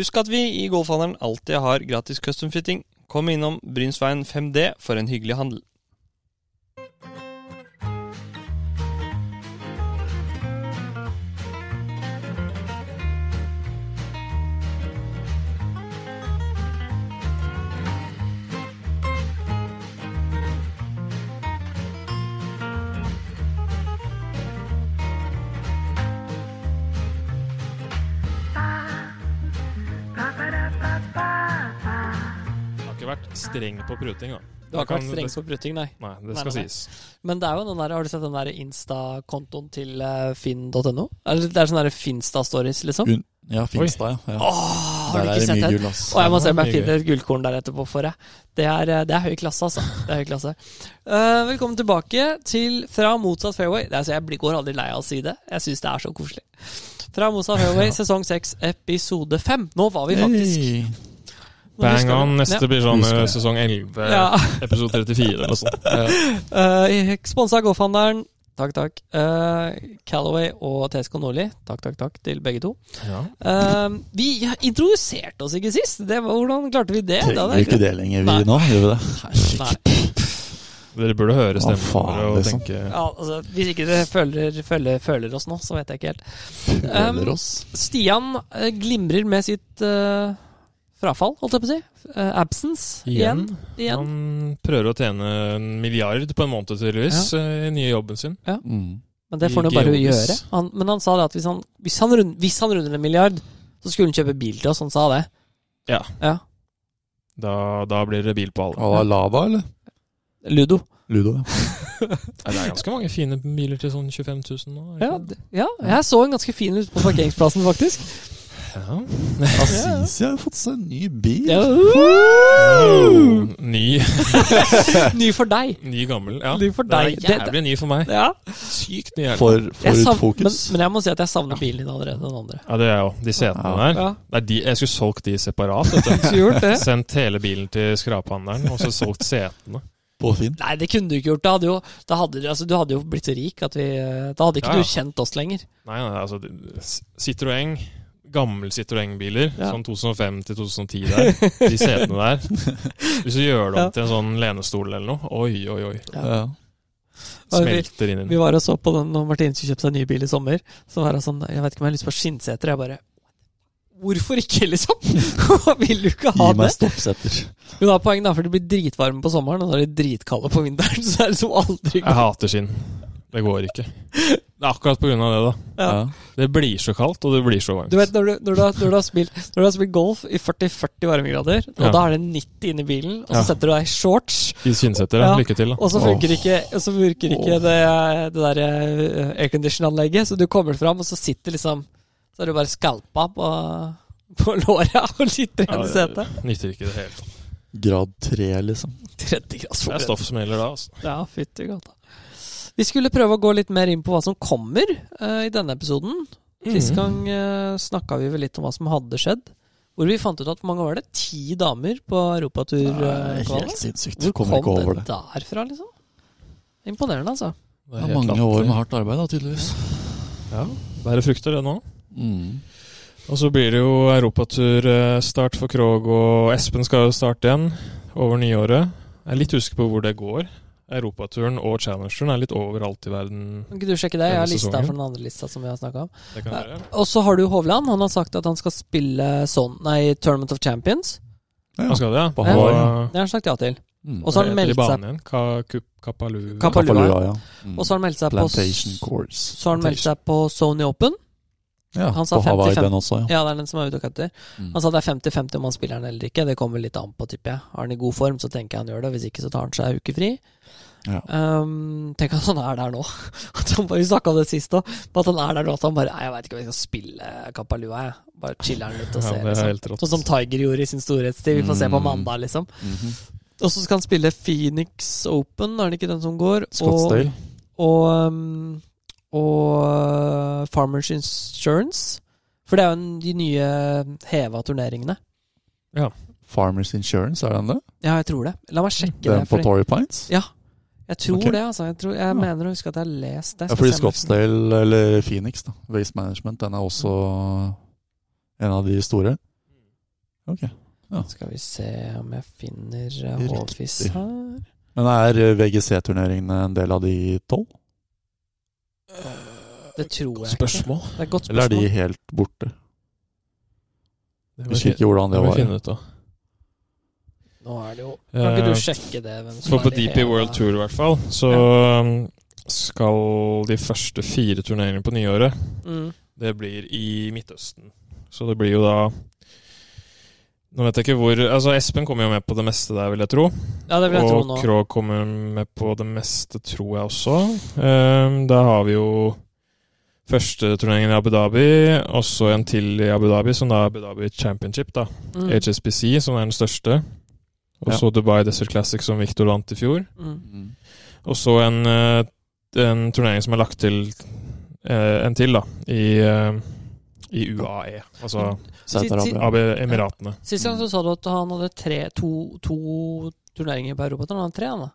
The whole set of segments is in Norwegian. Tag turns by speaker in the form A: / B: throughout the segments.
A: Husk at vi i Golfhandelen alltid har gratis custom fitting. Kom innom Brynsveien 5D for en hyggelig handel.
B: Jeg har ikke vært streng på pruting, da.
C: Du har ikke
B: Kan-
C: vært streng på brutting, nei.
B: Nei, det
C: Nei,
B: skal
C: nei, nei.
B: sies.
C: Men det er jo den der, har du sett den der Insta-kontoen til eh, finn.no? Er Det det er sånne der Finsta-stories, liksom.
D: Un- Ja, Finstad, ja. ja.
C: Åh, har du ikke
D: Der er det
C: sett
D: mye
C: den?
D: gull, ass.
C: Og jeg må
B: Det
C: se om
B: var
C: jeg
B: mye
C: finner et gullkorn der etterpå for deg. Det er, eh, det er høy klasse, altså. Det er høy klasse. Eh, velkommen tilbake til Fra motsatt fairway. Det er, altså, jeg blir- går aldri lei av å si det. Jeg syns det er så koselig. Fra motsatt fairway, sesong seks, episode fem. Nå var vi faktisk
D: Hey.
C: Nå
B: Bang
C: husker du.
B: on. Neste blir sånn
D: Husker
B: eh,
D: det.
B: sesong 11,
C: Ja.
B: episode 34 eller noe sånt. Eh,
C: Ja. Eh, Sponsa av Golfhandelen. Takk, takk. Eh, Callaway og TSK Nordli. Takk, takk, takk til begge to.
B: ja.
C: Eh, vi introduserte oss ikke sist. Det, var- hvordan klarte vi det? Det
D: Trenger
C: hadde
D: vi
C: jeg
D: ikke det lenger,
C: Nei.
D: vi nå? Gjør vi det?
C: ikke- Nei.
B: Dere burde høre
D: Hva
B: stemmen
D: faen,
B: vår og
D: liksom?
B: tenke
C: Ja, altså, hvis ikke dere føler, føler, føler oss nå, så vet jeg ikke helt.
D: Føler
C: Um,
D: oss.
C: Stian eh, glimrer med sitt eh, frafall, holdt jeg på å si. Eh, absence. Igjen. igjen.
B: Han prøver å tjene en milliard på en måned, tydeligvis, eh, i den nye jobben sin.
D: Mm.
C: Men det får han jo bare
B: Georgis.
C: gjøre. Han, men han sa det at hvis han, hvis, han rund, hvis han runder en milliard, så skulle han kjøpe bil til oss. Han sa det.
B: Ja. Da, da blir det bil på alle.
D: Å, det er Lava, eller?
C: Ludo.
D: Ludo, ja.
B: Nei, Det er ganske mange fine biler til sånn 25 000 nå.
C: Ja,
B: ikke
C: d- ja, jeg så en ganske fin ut på parkeringsplassen, faktisk.
B: sant?
D: Asisi har fått seg en ny bil.
C: Ja.
B: ja. Ny,
C: Ny for deg.
B: ny gammel. Ja.
C: Ny for
B: Den er
C: deg. Det-
B: jævlig ny for meg.
C: Ja.
B: Sykt ny. er den.
D: For,
C: Jeg
D: for
C: savn-
D: et fokus.
C: Men, men jeg må si at jeg savner bilen din allerede, den andre.
B: Ja, det er jo de setene der.
C: Ja,
B: Det er de, jeg skulle solgt de separat. Vet du.
C: så gjort det.
B: Sendt hele bilen til skraphandleren, og så solgt setene.
D: På Finn.
C: Nei, det kunne du ikke gjort. Da hadde jo, da hadde, du- altså, du hadde jo blitt så rik at vi eh, Da hadde ikke
B: Ja, ja.
C: du kjent oss lenger.
B: Nei, nei, altså det- S- Citroën. Gammel Citroën-biler,
C: Ja.
B: sånn 2005 til 2010 der. De setene der. Hvis du gjør det om
C: Ja.
B: til en sånn lenestol eller noe, oi, oi, oi.
D: Ja.
C: Og vi-
B: Smelter inn i
C: Vi
B: den.
C: var og så på den når Martine skulle kjøpe seg en ny bil i sommer. Så var hun sånn Jeg vet ikke om jeg har lyst på skinnseter. Jeg bare Hvorfor ikke, liksom? Vil du ikke ha
D: Gi
C: det?
D: meg stoppsetter.
C: Hun har poeng, da, for de blir dritvarme på sommeren, og så er de dritkalde på vinteren. Så det er liksom aldri
B: Jeg hater skinn. Det går ikke. Det er akkurat på grunn av det, da.
C: Ja.
D: Ja.
B: Det blir så kaldt, og det blir så varmt.
C: Du vet, når du, når du, har, når du, har, spilt, når du har spilt golf i 40-40 varmegrader, og
B: Ja.
C: da er det 90 inne i bilen, og så
B: Ja.
C: setter du deg i shorts,
B: I skinnsetter, ja.
C: Ja.
B: Lykke til, da.
C: og så funker ikke, og så funker ikke
D: Åh.
C: det, det der eh, aircondition-anlegget, så du kommer fram, og så sitter liksom Så er du bare skalpa på, på låra og litt
B: Ja,
C: rene
B: det-
C: setet.
B: Nytter ikke i det hele tatt.
D: Grad tre, liksom.
C: 30 grads
B: Det er
C: forbrent.
B: stoff som gjelder da, altså.
C: Ja, fytti gata. Vi skulle prøve å gå litt mer inn på hva som kommer eh, i denne episoden.
D: Mm.
C: Sist gang uh, snakka vi vel litt om hva som hadde skjedd. Hvor vi fant ut at hvor mange var det? Ti damer på
D: Nei,
C: europaturkvalen?
D: Helt sinnssykt.
C: Hvor
D: Kommer ikke over det.
C: derfra, liksom? Imponerende, altså.
B: Det
D: Det
B: er
D: er
B: helt
D: mange
B: latterlig.
D: år med hardt arbeid, da, tydeligvis.
B: Ja, bærer frukter, det nå.
D: Mm.
B: Og så blir det jo europaturstart for Krog, og Espen skal jo starte igjen over nyåret. Jeg er litt usikker på hvor det går. Europaturen og Challengeren er litt overalt i verden.
C: Kan ikke du sjekke det? Jeg har
B: Denne
C: lista
B: sesongen.
C: for den andre lista som vi har snakka om.
B: Det kan jeg gjøre.
C: Og så har du Hovland. Han har sagt at han skal spille sånn Nei, Tournament of Champions.
B: Hva skal det, ja? eh,
D: På
C: Ja.
D: Hawaii.
C: Det har han sagt ja til.
D: Mm.
C: Og så har han meldt seg
B: Banen igjen. Ka Kup Kapalu.
C: Kapa-
D: Kapalua, ja. Mm.
C: Og så har han meldt seg på
D: Plantation Course.
C: Så har han meldt seg på Sony Open.
D: Ja,
C: han sa
D: på Hawaii
C: 55.
D: den også, ja.
C: Ja, det er den som er ute og kutter.
D: Mm.
C: Han sa det er 50-50 om han spiller den eller ikke. Det kommer litt an på, tipper jeg. Har han i god form, så tenker jeg han gjør det. Hvis ikke, så tar han seg en uke fri.
D: Ja.
C: Ehm, tenk at han er der nå. At han bare, vi snakka om det sist òg, at han er der nå at han bare «Nei, Jeg veit ikke om jeg skal spille Kapalua, jeg. Bare chiller'n litt og
B: Ja,
C: ser.
B: det er
C: liksom.
B: helt rått.
C: Sånn som Tiger gjorde i sin storhetstid. Vi får se på
D: Mm.
C: mandag, liksom.
D: Mhm.
C: Og så skal han spille Phoenix Open, er det ikke den som går?
D: Scottsdale.
C: Og, og, ehm, og uh, Farmers Insurance. For det er jo en- de nye heva turneringene.
D: Farmers Insurance, er den det?
C: Ja, jeg tror det. La meg sjekke
D: Den
C: det.
D: på
C: For
D: Torrey Pines?
C: jeg tror
D: Ok.
C: det, altså. Jeg, tror, jeg mener å huske at jeg har lest det.
D: Ja,
C: Skal
D: fordi
C: se om jeg-
D: Scottsdale, eller Phoenix, da, Waste Management, den er også en av de store. Ok.
C: Skal vi se om jeg finner eh,
D: Riktig.
C: Håvis her.
D: Men er eh, VGC-turneringene en del av de tolv?
C: Eh, Det tror jeg ikke.
B: Spørsmål?
C: Det er et godt
D: Eller er
C: spørsmål.
D: de helt borte?
B: Det må vi
D: Husker ikke hvordan
B: det må
D: det
B: vi
D: var.
B: finne ut av.
C: Nå er det jo Kan ikke du sjekke det? Hvem som
B: Eh, For på
C: er i
B: DP
C: hele-
B: World Tour i hvert fall, så um, skal de første fire turneringene på nyåret,
C: Mm.
B: det blir i Midtøsten. Så det blir jo da Nå vet jeg ikke hvor Altså, Espen kommer jo med på det meste der, vil jeg tro.
C: Ja, det vil jeg tro
B: Og
C: nå.
B: Krog kommer med på det meste, tror jeg også. Um, da har vi jo første turneringen i Abu Dhabi, og så en til i Abu Dhabi, som da er Abu Dhabi Championship, da.
C: Mm.
B: HSBC, som er den største. Og
D: Ja.
B: så Dubai Desert Classic, som Victor vant i fjor.
C: Mm.
B: Og så en, eh, en turnering som er lagt til eh, en til, da, i, eh, i UAE. Altså
D: Saudi-Arabia.
B: AB Emiratene.
C: Sist gang så sa du at han hadde tre, to, to turneringer på Europa. Han hadde tre, han da.
B: Mm.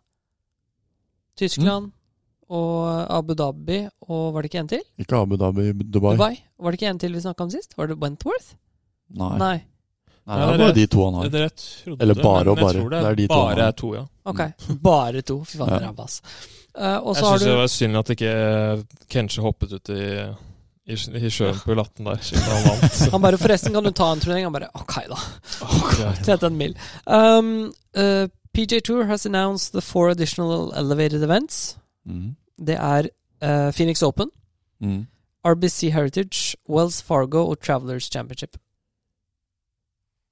C: Tyskland og Abu Dhabi, og var det ikke en til?
D: Ikke Abu Dhabi, Dubai.
C: Dubai. Var det ikke en til vi snakka om sist? Var det Wentworth?
D: Nei. Nei.
C: Nei.
B: Nei,
D: det er
B: det-
D: bare de to han har.
B: Dere trodde
D: Eller bare
B: men
D: og bare.
B: Jeg tror det er,
D: Det er de to han
B: bare
D: har.
B: er to, ja.
C: Ok. Mm. Bare to. Fy faen,
D: Ja.
C: det er ræva, ass. Eh, og
B: Jeg
C: så har
B: syns
C: du
B: det var synd at ikke eh, Kenshi hoppet ut i, i, i sjøen på latten der, siden han vant. Så,
C: Han bare 'Forresten, kan du ta en turnering?' Han bare 'Ok, da'.
B: greit.
C: Tjente en mil. Um, eh, PJ Tour has announced the four additional elevated events.
D: Mm.
C: Det er eh, Phoenix Open,
D: Mm.
C: RBC Heritage, Wells Fargo og Travelers Championship.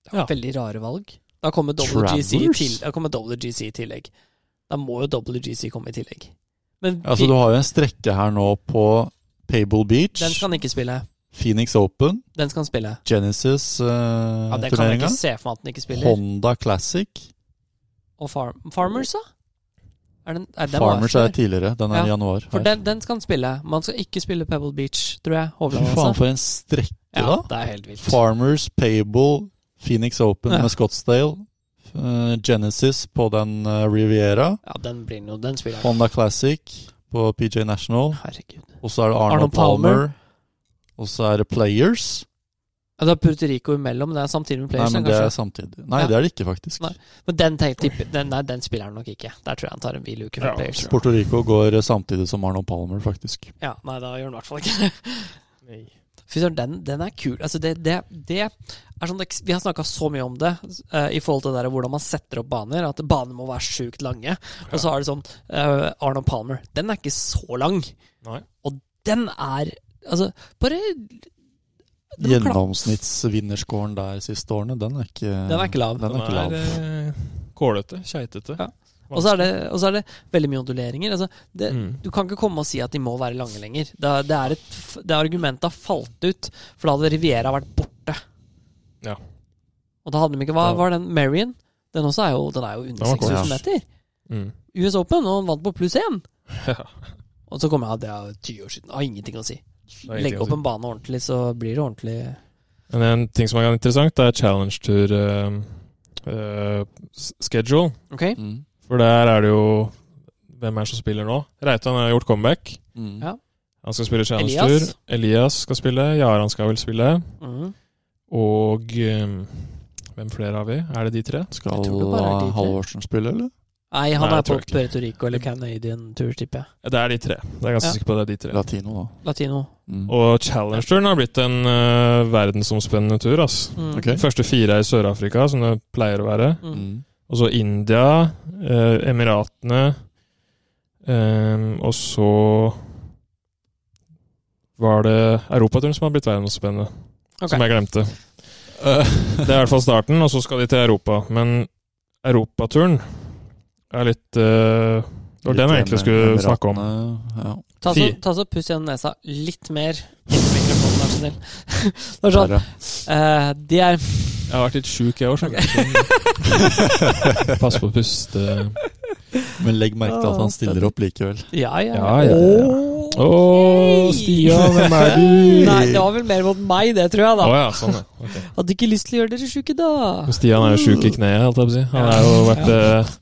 C: Det er
B: Ja.
C: Veldig rare valg. Da kommer WGC i,
D: Travelers?
C: til, da kommer WGC i tillegg. Da må jo WGC komme i tillegg. Men
D: Altså, du har jo en strekke her nå på Pable Beach,
C: den skal han ikke spille.
D: Phoenix Open,
C: Den skal han spille. Ja, det kan jeg
D: Genesis-turneringa,
C: ikke se for meg at den ikke spiller.
D: eh, Honda Classic.
C: Og farm, Farmers, da? Er den, er den var
D: Farmers
C: jeg
D: er
C: for.
D: tidligere. Den er
C: Ja,
D: i januar.
C: For
D: her.
C: den, den skal han spille. Man skal ikke spille Pebble Beach, tror jeg.
D: Fy faen,
C: Hovland,
D: for en strekke,
C: ja,
D: da.
C: det er helt vilt.
D: Farmers, Pable, Phoenix Open
C: Ja.
D: med Scottsdale, eh, Genesis på den eh, Riviera,
C: Ja, den blir noe. Den spiller han.
D: Honda Classic på PJ National,
C: Herregud.
D: og så er det Arnold,
C: Arnold Palmer.
D: Palmer. Og så er det Players.
C: Ja, det er Puerto Rico imellom, men det er samtidig med Players.
D: Nei, men det er
C: kanskje.
D: samtidig. Nei,
C: Ja.
D: det er det ikke, faktisk.
C: Nei. Men den, tenk, tipper- den, nei, den spiller han nok ikke. Der tror jeg han tar en hvil uke fra
B: Ja,
C: Players.
D: Puerto Rico går eh, samtidig som Arnold Palmer, faktisk.
C: Ja, nei, da gjør han i hvert fall ikke det. Fy søren, den, den er kul. Altså, det, det, det er sånn, eks- vi har snakka så mye om det eh, i forhold til det der, hvordan man setter opp baner. At baner må være sjukt lange. Og så er det sånn eh, Arnold Palmer. Den er ikke så lang.
B: Nei.
C: Og den er Altså, bare Den var klar-
D: Gjennomsnittsvinnerscoren der siste årene, den er ikke
C: Den er ikke lav.
D: Den er ikke lav.
B: Den er eh, kålete, keitete.
C: Ja. Og så er, det- og så er det veldig mye onduleringer. Altså, det,
B: Mm.
C: Du kan ikke komme og si at de må være lange lenger. Det, er- det, er et, f- det argumentet har falt ut, for da hadde Riviera vært borte.
B: Ja.
C: Og da hadde de ikke Hva
B: Ja.
C: var den Marion? Den også er jo, den er jo under
B: Den var kort,
C: 6000
D: ja.
C: meter.
B: Mm.
C: US Open, og han vant på pluss én.
B: Ja.
C: Og så kommer jeg at det er 20 år siden. Har ingenting å si.
B: er ingenting
C: Legg
B: å
C: opp
B: si.
C: en bane ordentlig, så blir det ordentlig
B: Men en ting som er interessant, er Challenge Tour eh, eh, s- schedule.
C: Ok?
D: Mm.
B: For der er det jo Hvem er det som spiller nå? Reitan har gjort comeback.
D: Mm.
C: Ja.
B: Han skal spille Challenge
C: Elias.
B: Tour. Elias skal spille. Jaran skal vel spille.
C: Mm.
B: Og eh, hvem flere har vi? Er det de tre?
D: Skal
C: Jeg tror det bare er de tre.
D: Halvorsen spille, eller?
C: Nei, han
B: Nei,
C: er
B: jeg
C: på
B: tror ikke.
C: Puerto Rico eller Canadian Tour, tipper jeg.
B: Det er de tre. Det er jeg ganske
C: Ja.
B: sikker på at det er de tre.
D: Latino, da.
C: Latino.
D: Mm.
B: Og Challenge-turen har blitt en eh, verdensomspennende tur. ass.
C: Mm.
D: Ok.
B: De første fire er i Sør-Afrika, som det pleier å være.
C: Mm.
D: Mm.
B: Og så India, eh, Emiratene eh, Og så var det Europaturen som har blitt verdensomspennende.
C: Ok.
B: Som jeg glemte. Det er i hvert fall starten, og så skal de til Europa. Men Europaturen er litt eh, Det var den jeg egentlig skulle snakke om.
D: Emiratene, Ja.
C: Ta så,
B: Fy.
C: ta så puss gjennom nesa litt mer. Inntil mikrofonen, vær så snill. Det er sånn,
D: Herre.
C: eh, de er
B: Jeg har vært litt sjuk, jeg òg, skjønner du. Pass på å puste.
D: Men legg merke til at han stiller opp likevel.
C: Ja, ja.
B: Ja, ja, ja.
C: Åh.
B: Å, Stian, hvem er du?
C: Nei, det var vel mer mot meg, det, tror jeg,
B: Å
C: da.
B: ja, sånn, ja. Ok.
C: Hadde ikke lyst til å gjøre dere sjuke, da.
B: Men Stian er jo sjuk i kneet, holdt jeg på å si. Han er jo vært eh,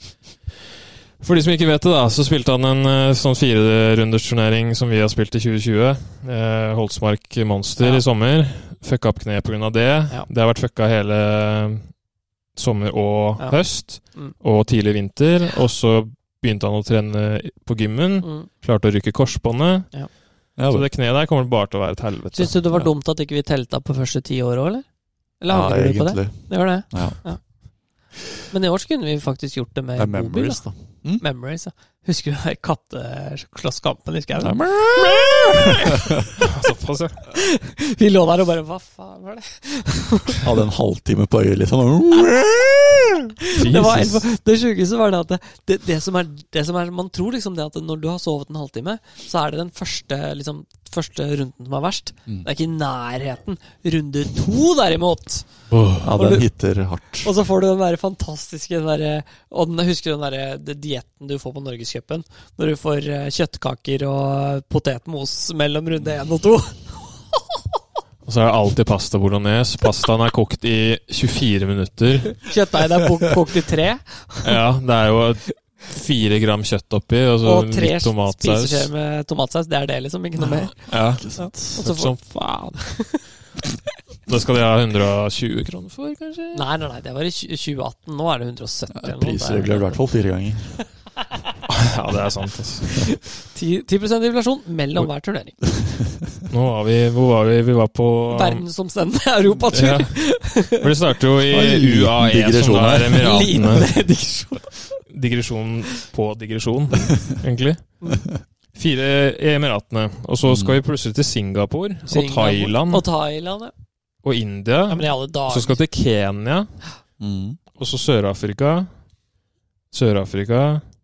B: For de som ikke vet det, da, så spilte han en eh, sånn firerundersturnering som vi har spilt i 2020. Eh, Holsmark Monster
C: Ja.
B: i sommer. fucka opp kneet pga. det.
C: Ja.
B: Det har vært fucka hele eh, sommer og
C: Ja.
B: høst,
C: Mm.
B: og tidlig vinter. Og så begynte han å trene på gymmen,
C: Mm.
B: klarte å rykke korsbåndet.
D: Ja,
B: Så
D: vel.
B: det kneet der kommer bare til å være et helvete.
C: Syns du det var
B: Ja.
C: dumt at ikke vi telta på første ti år òg, eller? Eller
D: ja,
C: angrer du på det?
D: egentlig.
C: Det var det.
D: Ja.
C: Men i år så kunne vi faktisk gjort det med
D: Det er
C: bobil.
D: memories,
C: da.
D: da.
C: Memories, ja. Husker du den katteslåsskampen i
D: Ja.
C: skauen?
B: Såpass, ja.
C: Vi lå der og bare Hva faen var det?
D: Hadde en halvtime på øyet, liksom.
C: Det, var
B: Jesus.
C: helt- det sjukeste var det at det, det, det, som er, det som er Man tror liksom det at når du har sovet en halvtime, så er det den første, liksom, første runden som er verst.
D: Mm.
C: Det er ikke i nærheten. Runde to, derimot.
D: Ja, den hitter hardt.
C: Og så får du den der fantastiske den der, Og den, husker du den der det dietten du får på Norgescupen? Når du får eh, kjøttkaker og potetmos mellom runde én og to?
B: Og så er det alltid pasta bolognese. Pastaen er kokt i 24 minutter.
C: Kjøttdeigen er kok- kokt i tre,
B: Ja, det er jo fire gram kjøtt oppi, og så
C: og tre
B: litt tomatsaus.
C: spiseskjeer med tomatsaus. Det er det, liksom. Ikke noe mer.
B: Ja,
C: Og så
B: Hørt
C: får,
B: som faen. Det skal de ha 120 kroner for, kanskje?
C: nei, nei, nei, det var i tj- 2018. Nå er det 170 eller noe.
D: Prisregulert i hvert fall fire ganger.
B: Ja, det er sant. Altså.
C: 10, 10 inflasjon mellom hver turnering.
B: Nå var vi Hvor var vi? Vi var på
C: Verdensomstendende europatur.
B: Ja. For det starter jo
D: Det var en
B: i
D: liten
B: UAE, som
D: digresjon
B: da er
D: her.
B: Emiratene.
C: Liten diksjon.
B: digresjon på digresjon, egentlig. Fire i Emiratene. Og så skal vi plutselig til Singapore og Thailand
C: Og Thailand, ja.
B: og India.
C: Ja, Men i alle dager.
B: Så skal vi til Kenya,
D: Mm.
B: og så Sør-Afrika. Sør-Afrika,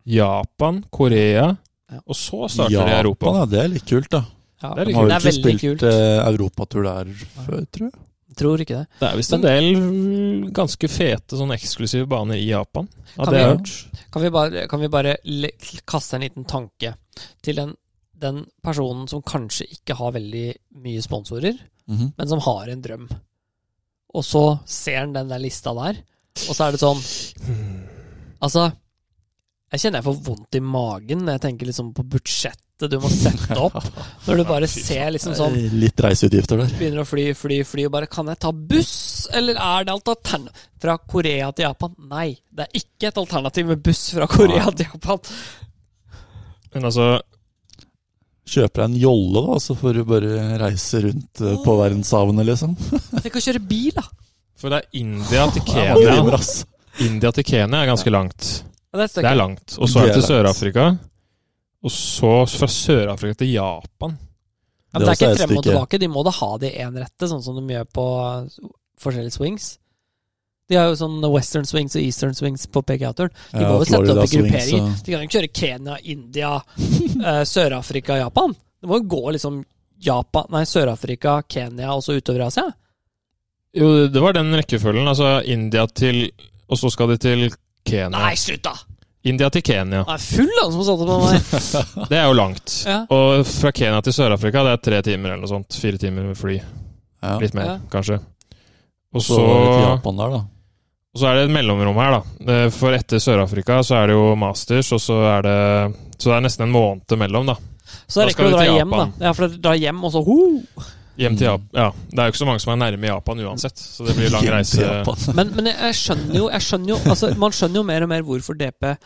B: Japan, Korea.
C: Ja.
B: Og så starter det i Europa.
D: Japan, ja, det er litt kult, da.
C: Ja.
B: Det er
D: De
B: litt
D: har
B: kult.
C: Det
D: jo
C: er
D: ikke
C: veldig
D: spilt
C: kult.
D: eh, europatur der før, tror jeg.
C: Tror ikke det.
B: Det er visst en del mm, ganske fete sånn eksklusive baner i Japan. Ja,
C: Kan
B: det
C: vi-
B: har jeg hørt.
C: Kan vi bare, kan vi bare le, kaste en liten tanke til den, den personen som kanskje ikke har veldig mye sponsorer,
D: Mhm.
C: men som har en drøm. Og så ser han den der lista der, og så er det sånn Altså, jeg kjenner jeg får vondt i magen når jeg tenker liksom på budsjettet du må sette opp. Når du bare ser liksom sånn
D: Eh, Litt reiseutgifter der.
C: Begynner å fly, fly, fly og bare Kan jeg ta buss, eller er det alternativ Fra Korea til Japan? Nei, det er ikke et alternativ med buss fra Korea til Japan.
B: Men altså,
D: Kjøper deg en jolle, da, så får du bare reise rundt eh, på verdenshavene, liksom.
C: Tenk å kjøre bil, da!
B: for det er India til
D: Det er mange timer,
B: Kenya.
D: ass.
B: India til Kenya er ganske langt.
C: Ja, Det er et
B: Det
C: stykke.
B: er langt. Og så er
D: Det er
B: det til
D: langt.
B: Sør-Afrika. Og så fra Sør-Afrika til Japan.
C: Ja, men det er
D: Det er
C: ikke
D: også et
C: frem og
D: stykke.
C: tilbake. De må da ha det i én rette, sånn som de gjør på forskjellige swings. De har jo sånn western swings og eastern swings på PGA-turen. De må
D: Ja,
C: jo sette opp i
D: Florida swings,
C: grupperinger.
D: og-
C: De kan jo ikke kjøre Kenya, India, eh, Sør-Afrika, Japan. Det må jo gå liksom Japan, nei, Sør-Afrika, Kenya og så utover i Asia.
B: Jo, det var den rekkefølgen. Altså India til Og så skal de til Kenya.
C: Nei, slutt, da!
B: India til Kenya.
C: Han er full, han som satte på meg.
B: Det er jo langt.
C: Ja.
B: Og fra Kenya til Sør-Afrika det er tre timer eller noe sånt. Fire timer med fly.
D: Ja.
B: Litt mer,
C: Ja.
B: kanskje. Og
D: Så
B: så,
D: var det til Japan der, da.
B: og så er det et mellomrom her, da. Eh, For etter Sør-Afrika så er det jo masters, og så er det Så det er nesten en måned mellom, da.
C: Så da
B: Da skal
C: rekker du å
B: vi
C: dra
B: til
C: hjem, da.
B: Japan.
C: Ja, for dra hjem, og så ho!
B: Hjem til
D: Mm.
B: Japan. Ja. Det er jo ikke så mange som er nærme Japan uansett, så det blir lang
D: Hjem til
B: reise.
D: Japan.
C: Men, men jeg- jeg skjønner jo, jeg skjønner jo altså, Man skjønner jo mer og mer hvorfor DP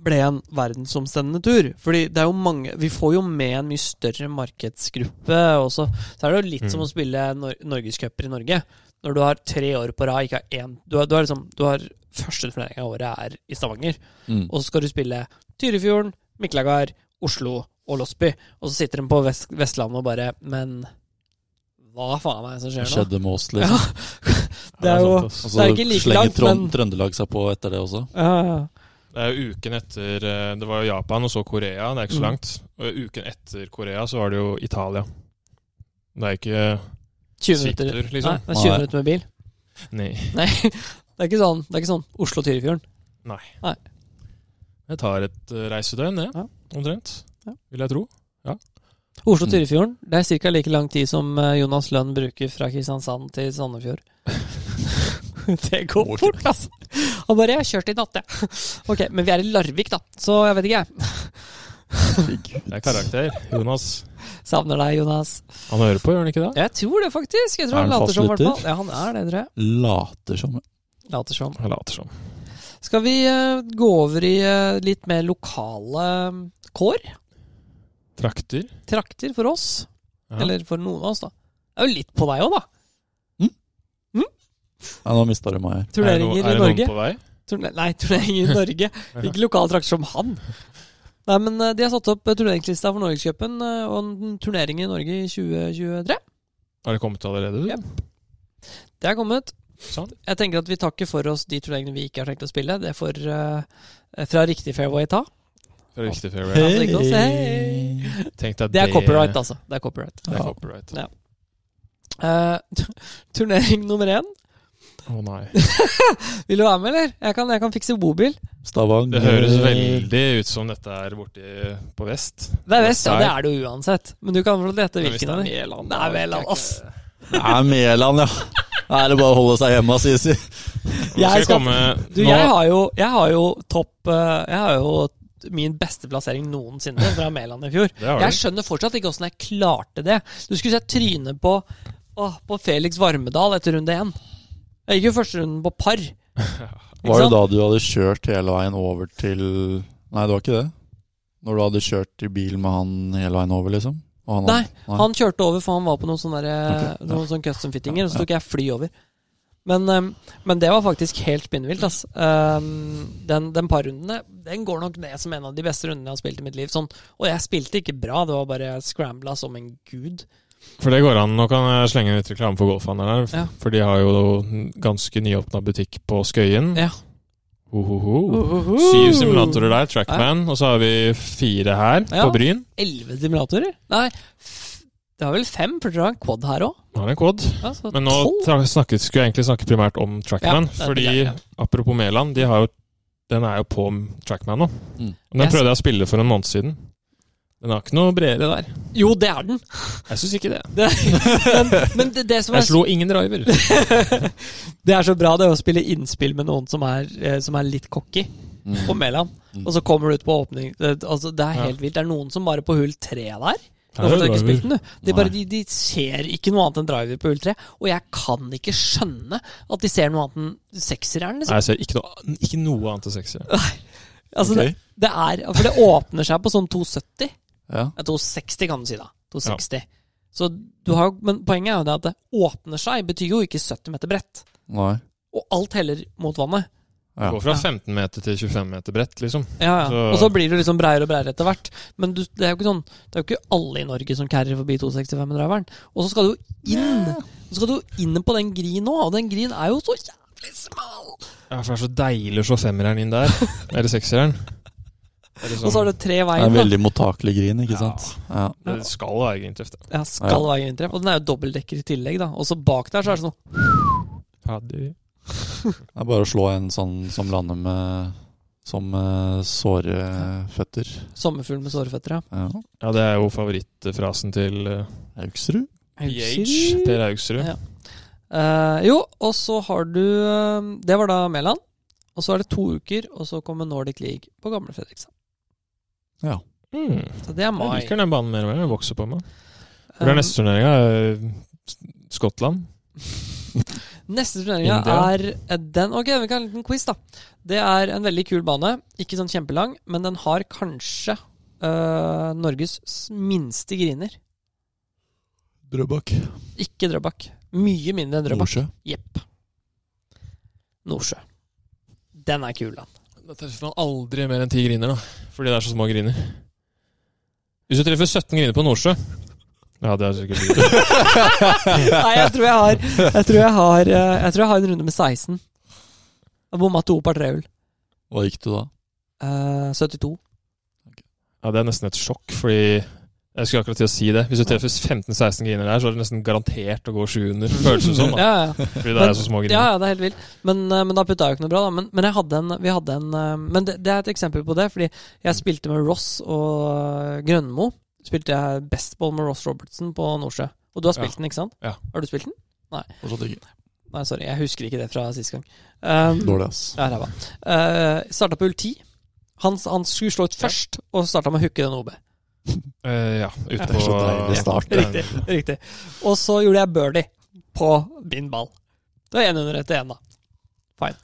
C: ble en verdensomstendende tur. Fordi det er jo mange Vi får jo med en mye større markedsgruppe. Og så, så er det jo litt som
B: Mm.
C: å spille nor norgescuper i Norge. Når du har tre år på rad, ikke har én Du har, du har liksom du har Første turnering av året er i Stavanger.
D: Mm.
C: Og så skal du spille Tyrifjorden, Miklagard, Oslo og Losby. Og så sitter de på vest Vestlandet og bare Men hva faen er det som
D: Det
C: skjer nå?
D: skjedde med oss,
C: Ja,
D: liksom.
C: det er jo
B: sant, ass.
D: Og
C: Det
D: så
C: er ikke like
D: slenger
C: langt,
D: Trond,
C: men-
D: Trøndelag seg på etter det også.
C: Ja, ja, ja.
B: Det er jo uken etter eh, Det var jo Japan og så Korea, det er ikke så
C: Mm.
B: langt. Og uken etter Korea så var det jo Italia. Det er ikke
C: 20 minutter.
B: svipptur, liksom.
C: Nei, det er 20
D: Nei.
C: minutter med bil.
B: Nei.
C: Nei, det er ikke sånn, det er ikke sånn. Oslo-Tyrifjorden.
B: Jeg tar et eh, reisedøgn, det.
C: Ja.
B: Omtrent.
C: Ja.
B: Vil jeg tro.
C: Oslo-Tyrifjorden, det er ca. like lang tid som eh, Jonas Lønn bruker fra Kristiansand til Sandefjord. det går fort, altså! Han bare 'Jeg har kjørt i natt, jeg'. Ok, men vi er i Larvik, da, så jeg vet ikke, jeg.
B: Det er karakter. Jonas.
C: Savner deg, Jonas.
B: Han hører på, gjør han ikke det?
C: Jeg tror det, faktisk. Jeg tror
D: Er
C: han
D: han
C: later som, i hvert
D: fastlytter?
C: fall. Ja, han er det, tror jeg.
D: Later som.
C: Later som.
B: Han later som.
C: Skal vi eh, gå over i eh, litt mer lokale eh, kår?
B: Trakter.
C: Trakter for oss.
B: Ja.
C: Eller for noen av oss, da. Det er jo litt på deg òg, da.
D: Ja, nå mista du meg her.
B: er
C: Turneringer
B: det noen, er
C: i
B: det
C: Norge.
B: Noen på vei?
C: Turne nei, turneringer i Norge. Ikke lokale trakter som han. Nei, men eh, De har satt opp eh, turneringslista for Norgescupen eh, og en turnering i Norge i 2023.
B: Har det kommet allerede?
C: Ja.
B: du?
C: Det er kommet.
B: Sånn.
C: Jeg tenker at Vi tar ikke for oss de turneringene vi ikke har tenkt å spille. Det får eh, fra riktig fairway ta.
B: Fra riktig fairway.
C: Hei. ikke oss,
B: Tenk deg
C: Det er copyright, altså. Det er copyright.
B: Det er
D: Ja.
B: copyright.
C: Ja. Eh, turnering nummer én.
B: Å nei.
C: Vil du være med, eller? Jeg kan, jeg kan fikse bobil.
D: Stavanger
B: Det høres veldig ut som dette er borti på vest.
C: Det er vest, ja.
B: Nei.
C: Det er det jo uansett. Men du kan få gjette
B: Men hvis
C: hvilken.
B: det er
C: av de.
B: Mæland,
C: Det
B: da
C: er Mæland,
B: orker jeg
C: ass.
B: ikke.
D: Det er Mæland, ja. Da er det bare å holde seg hjemme, sier si.
B: Nå skal
C: Jeg
B: jeg
C: skal-
B: komme
C: Du,
B: nå,
C: jeg har jo, jeg har jo topp eh, Jeg har jo min beste plassering noensinne fra Mæland i fjor.
B: Det har
C: Jeg
B: du.
C: skjønner fortsatt ikke åssen jeg klarte det. Du skulle sett trynet på, åh, på Felix Varmedal etter runde én. Jeg gikk jo første runden på par. Ikke
D: Var
C: sant?
D: det da du hadde kjørt hele veien over til Nei, det var ikke det. Når du hadde kjørt i bil med han hele veien over, liksom? Og han,
C: Nei, Han kjørte over, for han var på noen sånne, der, eh,
D: Ok, ja.
C: noen sånne custom fittinger, og så tok jeg fly over. Men, ehm, men det var faktisk helt spinnvilt. ass. Ehm, den den parrunden den går nok ned som en av de beste rundene jeg har spilt i mitt liv. Sånn. Og jeg spilte ikke bra, det var bare jeg scrambla som en gud.
B: For det går an. Nå kan jeg slenge litt reklame for golfhandlerne. f-
C: Ja.
B: For de har jo ganske nyåpna butikk på
D: Mm.
B: Skøyen.
C: Ja.
B: Ho, ho, ho. Syv simulatorer der, Trackman. Og så har vi fire her
C: Ja.
B: på Bryn.
C: Elleve simulatorer? Nei, f- det var vel fem, for dere har en quad her òg.
B: Nå er det en quad.
C: Ja, så
B: Men nå
C: tolv.
B: tra- snakket, skulle jeg egentlig snakke primært om Trackman.
C: Ja, det er
B: fordi,
C: greit,
B: apropos Mæland, de har jo, den er jo på Trackman nå.
D: Mm.
B: Den
C: Jeg
B: prøvde jeg å spille for en måned siden. Den har ikke noe bredere der.
C: Jo, det er den!
B: Jeg syns ikke det.
C: Det, men men det, det som er
B: Jeg slo ingen driver.
C: Det er så bra det er å spille innspill med noen som er, eh, som er litt cocky på
D: Mm.
C: Mæland.
D: Mm.
C: Og så kommer du ut på åpning eh, altså, Det er
B: Ja.
C: helt vilt. Det er noen som bare på hull tre der
B: Her
C: Nå
B: er
C: får du ikke
B: driver.
C: spilt den, du. De, bare,
D: Nei.
C: de, de ser ikke noe annet enn driver på hull tre. Og jeg kan ikke skjønne at de ser noe annet enn sekseren.
B: Nei,
C: Liksom.
B: jeg ser ikke noe, ikke noe annet enn seksere.
C: Altså,
D: Ok.
C: det, det er, for det åpner seg på sånn 270.
D: Ja.
C: Ja, 260 kan du si, da. 260. Så du har, jo- men poenget er jo det at det åpner seg, betyr jo ikke 70 meter bredt.
D: Nei.
C: Og alt heller mot vannet.
D: Ja.
B: Gå fra 15 meter til 25 meter bredt, liksom.
C: Ja, ja.
B: Så-
C: Og så blir du liksom breiere og breiere etter hvert. Men du, det er jo ikke sånn Det er jo ikke alle i Norge som carrier forbi 265-driveren. Og så skal du jo inn Så skal du jo inn på den green nå, og den green er jo så jævlig smal!
B: Ja, for det er så deilig å slå femmeren inn der. Eller sekseren. Eller
C: Og så har du tre i
D: Det er
C: veien.
D: en
C: da.
D: veldig mottakelig grin, ikke
B: Ja.
D: sant? Ja.
B: Det skal være grintreff. det.
C: Ja, skal være inntreff. Og den er jo dobbeltdekker i tillegg, da. Og så bak der så er det sånn
B: Ja, de-
D: Det er bare å slå en sånn som lander med som eh, såre føtter.
C: sommerfugl med såreføtter, ja.
D: Ja.
B: ja, det er jo favorittfrasen til eh,
D: Auksrud?
B: PH, Per Augsrud.
C: Ja. Eh, jo, og så har du eh, Det var da Mæland. Og så er det to uker, og så kommer Nordic League på Gamle Fredrikstad.
D: Ja.
B: Mm.
C: Så det er mai. Eh,
B: Jeg liker den banen mer og mer. Jeg vokser på meg. For det er neste turneringa Skottland.
C: Neste turneringa er
B: India.
C: eh, den. Ok, vi kan ha en liten quiz, da. Det er en veldig kul bane. Ikke sånn kjempelang, men den har kanskje eh, Norges s- minste griner.
D: Drøbak.
C: Ikke Drøbak. Mye mindre enn Drøbak.
D: Nordsjø.
C: Jepp. Nordsjø. Den er kul, da.
B: Da treffer man aldri mer enn ti griner, da. Fordi det er så små griner. Hvis du treffer 17 griner på Nordsjø Ja, det er sikkert griner.
C: Nei, jeg tror jeg har Jeg tror jeg har, eh, jeg tror jeg har en runde med 16. Jeg bomma to par trehull.
D: Hva gikk du da?
C: Eh, 72.
B: Ja, det er nesten et sjokk, fordi jeg skulle akkurat til å si det. Hvis du treffer 15-16 griner der, så er det nesten garantert å gå sju under. Føles det som, da.
C: Ja, ja.
B: Fordi det er så små
C: Ja,
B: griner.
C: ja, det er helt vilt. Men, eh, men da putta jeg jo ikke noe bra, da. Men, men jeg hadde en, vi hadde en eh, Men det, det er et eksempel på det, fordi jeg spilte med Ross og eh, Grønmo. Spilte jeg bestball med Ross Robertson på Nordsjø. Og du har spilt
B: Ja.
C: den, ikke sant?
B: Ja.
C: Har du spilt den?
D: Fortsatt ikke.
C: Nei, sorry, jeg husker ikke det fra sist gang. Um,
D: Dårlig, ass.
C: Ja, ræva. Eh, Uh, starta på hull 10. Han, han skulle slå ut først, og starta med å hooke den OB.
B: Eh, ja, ute
D: Det er så deilig start.
C: Riktig. riktig. Og så gjorde jeg birdie på min ball. Det var 1 under etter 1, da. Fine.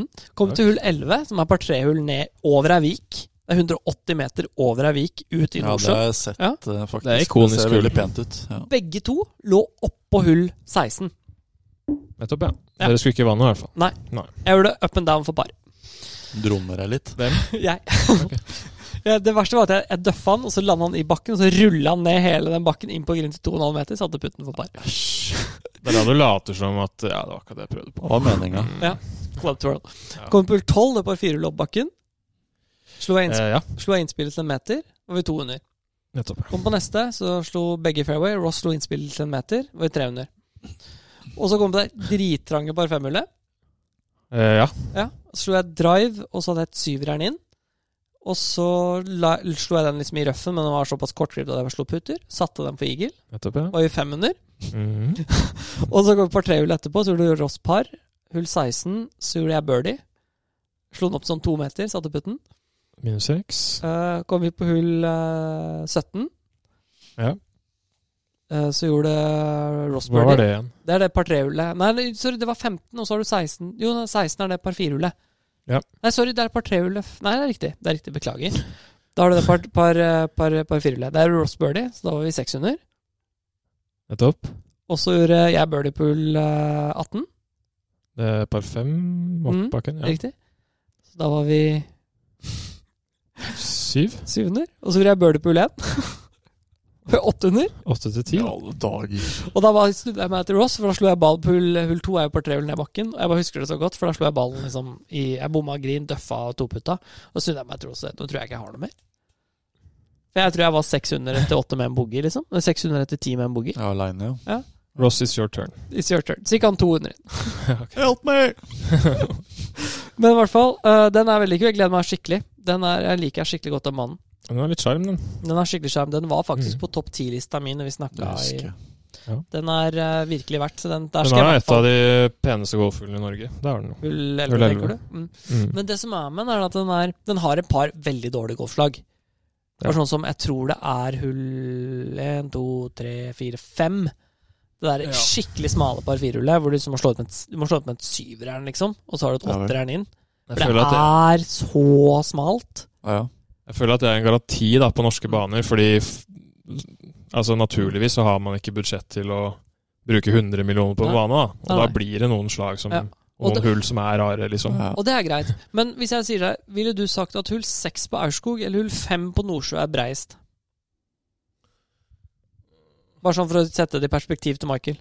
C: Mm. Kom til hull 11, som er par tre-hull ned over ei vik. Det er 180 meter over ei vik ut i
D: Ja, det
C: Nordsjøen.
D: har jeg sett,
C: Ja.
D: eh, faktisk.
B: Det er ikonisk
D: ser
B: gull.
D: veldig pent ut. Ja.
C: Begge to lå oppå hull 16.
B: Nettopp, ja.
C: Ja.
B: Dere skulle ikke i vannet, i hvert fall.
C: Jeg gjorde up and down for par.
D: Drommer jeg litt.
C: Jeg. Ja, det verste var at jeg, jeg døffa han, og så landa han i bakken, og så rulla han ned hele den bakken inn på grunn til 2,5 meter, satte putten for par.
B: Det er da du later som at Ja, det var ikke det jeg prøvde på. Mm.
D: Det var meninga.
C: Club twirl.
B: Ja.
C: Kom på hull 12, det på firehull opp bakken. Slo jeg, innsp
B: Eh, ja,
C: slo jeg innspillet til en meter, var vi to under.
B: nettopp. ja.
C: Kom på neste, så slo begge fairway. Ross slo innspillet til en meter, var vi tre under. Og så kom det drittrange par femhullet.
B: Eh, ja.
C: Ja, så slo jeg drive, og så hadde jeg et syverjern inn. Og så la, slo jeg den liksom i røffen, men den var såpass kortklipt at jeg slo putter. Satte den for eagle.
B: Nettopp, ja.
C: Var vi fem under.
B: Mhm.
C: Og så kom par tre hull etterpå, så gjorde Ross par. Hull 16, så gjorde jeg birdie. Slo den opp sånn to meter, satte putten.
B: Minus seks.
C: Eh, kom vi på hull eh, 17.
B: Ja.
C: Eh, så gjorde Ross
B: Hva var
C: birdie.
B: det igjen?
C: Det er det par tre-hullet. Nei, nei, sorry, det var 15, og så har du 16. Jo, nei, 16 er det par fire-hullet.
B: Ja.
C: Nei, sorry, det er par tre-hullet. F- Nei, det er riktig. Det er riktig, Beklager. Da har du det par, par, eh, par, par fire-hullet. Det er Ross birdie, så da var vi 600.
B: Nettopp.
C: Og så gjorde jeg birdie på hull eh, 18,
B: Det er par fem opp
C: Mhm.
B: bakken. Ja.
C: riktig. Så da var vi
B: Syv.
C: 700. Og så gjorde jeg birdie på hull 1. 800.
B: Åtte til ti.
D: I alle dager.
C: Og da bare snudde jeg meg til Ross, for da slo jeg ball på hull, hull to er jo par tre hull ned bakken. Og jeg bare husker det så godt, for da slo jeg ballen liksom i Jeg bomma green, døffa og toputta. Og så snudde jeg meg til Ross og sa, nå tror jeg ikke jeg har noe mer. For jeg tror jeg var 600 etter 8 med en boogie, liksom. Eller 600 etter 10 med en boogie.
D: Jeg er aleine, jo.
B: Ross, it's your turn.
C: It's your turn. Så gikk han 200 inn.
D: Help me!
C: Men i hvert fall, øh, den er veldig kul. Jeg gleder meg skikkelig. Den er, jeg liker jeg skikkelig godt av mannen.
B: Den har litt sjarm, den.
C: Den er skikkelig skjerm. Den var faktisk
B: Mm.
C: på topp 10-lista mi når vi
D: Det
C: snakka
D: husker
C: i
D: jeg.
C: Den er øh, virkelig verdt så den. Der
B: Den er
C: skal jeg i
B: et
C: hvert
B: av
C: fall
B: de peneste golfhullene i Norge. Det er den jo.
C: Hull
B: Hull
C: 11,
B: 11.
C: tenker du? Mm.
B: Mhm.
C: Men det som er med den, er at den, er, den har et par veldig dårlige golflag. Det er
B: Ja.
C: sånn som jeg tror det er hull 1, 2, 3, 4, 5. Det der
B: Ja.
C: skikkelig smale par firehullet hvor du liksom må slå ut med et, du må slå ut med et syverjern, liksom. Og så har du et
D: Ja vel.
C: åtterjern inn.
B: Jeg
C: For
B: føler
C: det
B: at det,
C: er så smalt.
D: Ja, ja.
B: jeg føler at det er en garanti da, på norske baner, fordi f altså, naturligvis så har man ikke budsjett til å bruke 100 millioner på en
C: Nei.
B: bane, da. Og
C: Nei,
B: da
C: nei.
B: blir det noen slag som
C: Ja.
B: Og
C: Og det-
B: noen hull som er rare, liksom.
D: Ja.
C: Og det er greit. Men hvis jeg sier deg, ville du sagt at hull 6 på Aurskog eller hull 5 på Nordsjø er breist? Bare sånn for å sette det i perspektiv til Michael.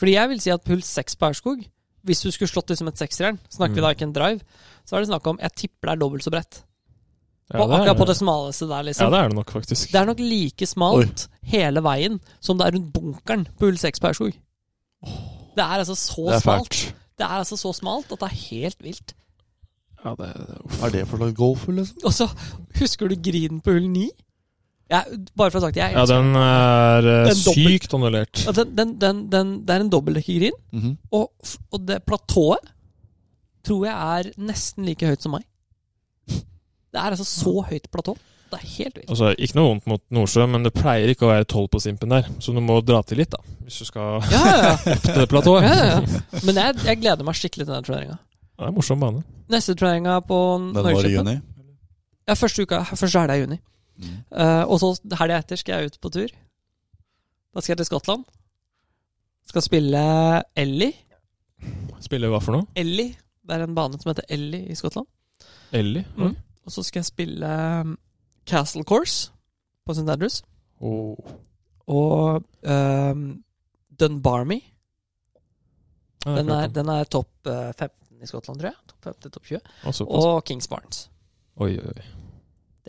C: Fordi jeg vil si at hull 6 på Aurskog Hvis du skulle slått det som et sekseren, snakker vi
B: Mm.
C: da ikke en drive, så er det snakk om Jeg tipper det er dobbelt så bredt.
B: Ja,
C: og
B: det er-
C: akkurat på det smaleste der,
B: ja,
C: liksom.
B: det er det nok, faktisk.
C: det er nok like smalt hele veien som det er rundt bunkeren på hull 6 på Aurskog. Det er altså så
D: Det er
C: smalt.
D: fælt.
C: Det er altså så smalt at det er helt vilt.
B: Ja, det,
D: Hva er det for slags golfhull, liksom?
C: Og så husker du grinen på hull 9? Jeg, bare for å ha sagt det, jeg
B: ja,
C: elsker
B: den er eh,
C: Den dobbelt-
B: sykt annullert.
C: at den, den, den, den, Det er en dobbeltdekkergrin,
D: Mhm.
C: og, f- og det platået tror jeg er nesten like høyt som meg. Det er altså så høyt platå. Det er helt vilt.
B: Altså, ikke noe vondt mot Nordsjø, men det pleier ikke å være tolv på simpen der, så du må dra til litt, da, hvis du skal
C: Ja, ja, ja.
B: til det
C: ja,
B: platået.
C: ja, ja. Men jeg, jeg gleder meg skikkelig til den turneringa.
B: Det er en morsom bane.
C: Neste turneringa på
D: Den var i
C: Norgescupen
D: juni.
C: Ja, første uka. Første helga i juni.
D: Mm.
C: Eh, og så helga etter skal jeg ut på tur. Da skal jeg til Skottland. Skal spille Ellie.
B: Spiller hva for noe?
C: Ellie. Det er en bane som heter Ellie i Skottland.
B: Ellie?
C: Mm. Og så skal jeg spille um, Castle Course på St. Andrews.
B: Oh.
C: Og um, Dunbarmy.
B: Ja, det
C: Den er,
B: klart
C: den er topp eh, 15 i Skottland, tror jeg. Topp 15, topp 20.
B: den. Altså,
C: Og Kings Barnes.
B: Oi, oi, oi.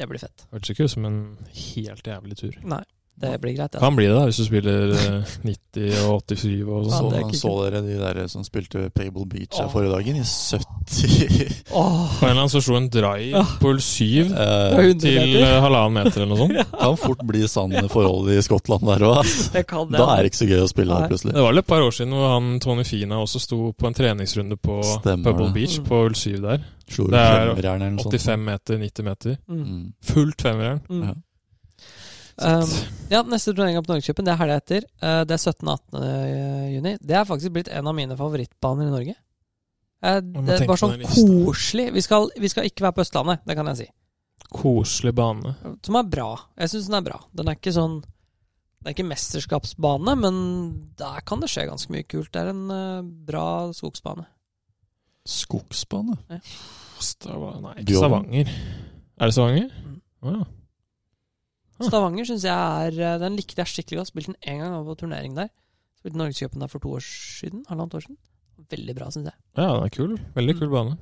C: Det blir fett.
B: Hørtes ikke ut som en helt jævlig tur.
C: Nei, det blir greit. det,
B: Kan bli det, da, hvis du spiller eh, 90 og 87 og
C: Ja,
D: Så,
B: sånn.
C: det er ikke
D: så dere de der som spilte Pable Beach her
C: Åh.
D: forrige dagen? I 70
C: altså. Åh,
B: På en eller annen så slo en drive
C: Ja.
B: på hull 7
D: eh,
C: 100
B: til
C: meter.
B: eh, halvannen meter eller noe sånt.
D: Kan fort bli sanne forhold i Skottland der òg.
C: Det kan det.
D: Da er det ikke så gøy å spille
C: Nei.
D: der plutselig.
B: Det var vel et par år siden hvor han Tony Fina også sto på en treningsrunde på
D: Stemmer
B: Pebble
D: det.
B: Beach
C: Mm.
B: på hull 7 der.
D: Slo
B: Det er
D: femmerjern eller noe sånt.
B: 85 meter, 90 meter.
C: Mm.
D: sånn. Mm.
B: Fullt femmerjern.
C: Mm.
D: Ja.
C: Um, ja, neste turnering på Norgescupen det er helga etter. Eh, det er 17. og 18. juni. Det er faktisk blitt en av mine favorittbaner i Norge. Eh,
B: må
C: det
B: tenke
C: var
B: på
C: sånn
B: den lista.
C: koselig. Vi skal, vi skal ikke være på Østlandet, det kan jeg si.
B: Koselig bane.
C: Som er bra. Jeg syns den er bra. Den er ikke sånn Det er ikke mesterskapsbane, men der kan det skje ganske mye kult. Det er en eh, bra skogsbane.
D: Skogsbane?
B: Stava- Nei,
D: Bjørn.
B: ikke Stavanger. Er det Stavanger?
C: Mm.
B: Å ja. Ah.
C: Stavanger syns jeg er eh, Den likte jeg skikkelig godt. Spilte den én gang jeg var på turnering der. Spilte Norgescupen der for to år siden. Halvannet år siden. Veldig bra, syns jeg.
B: ja, den er kul. Veldig kul bane.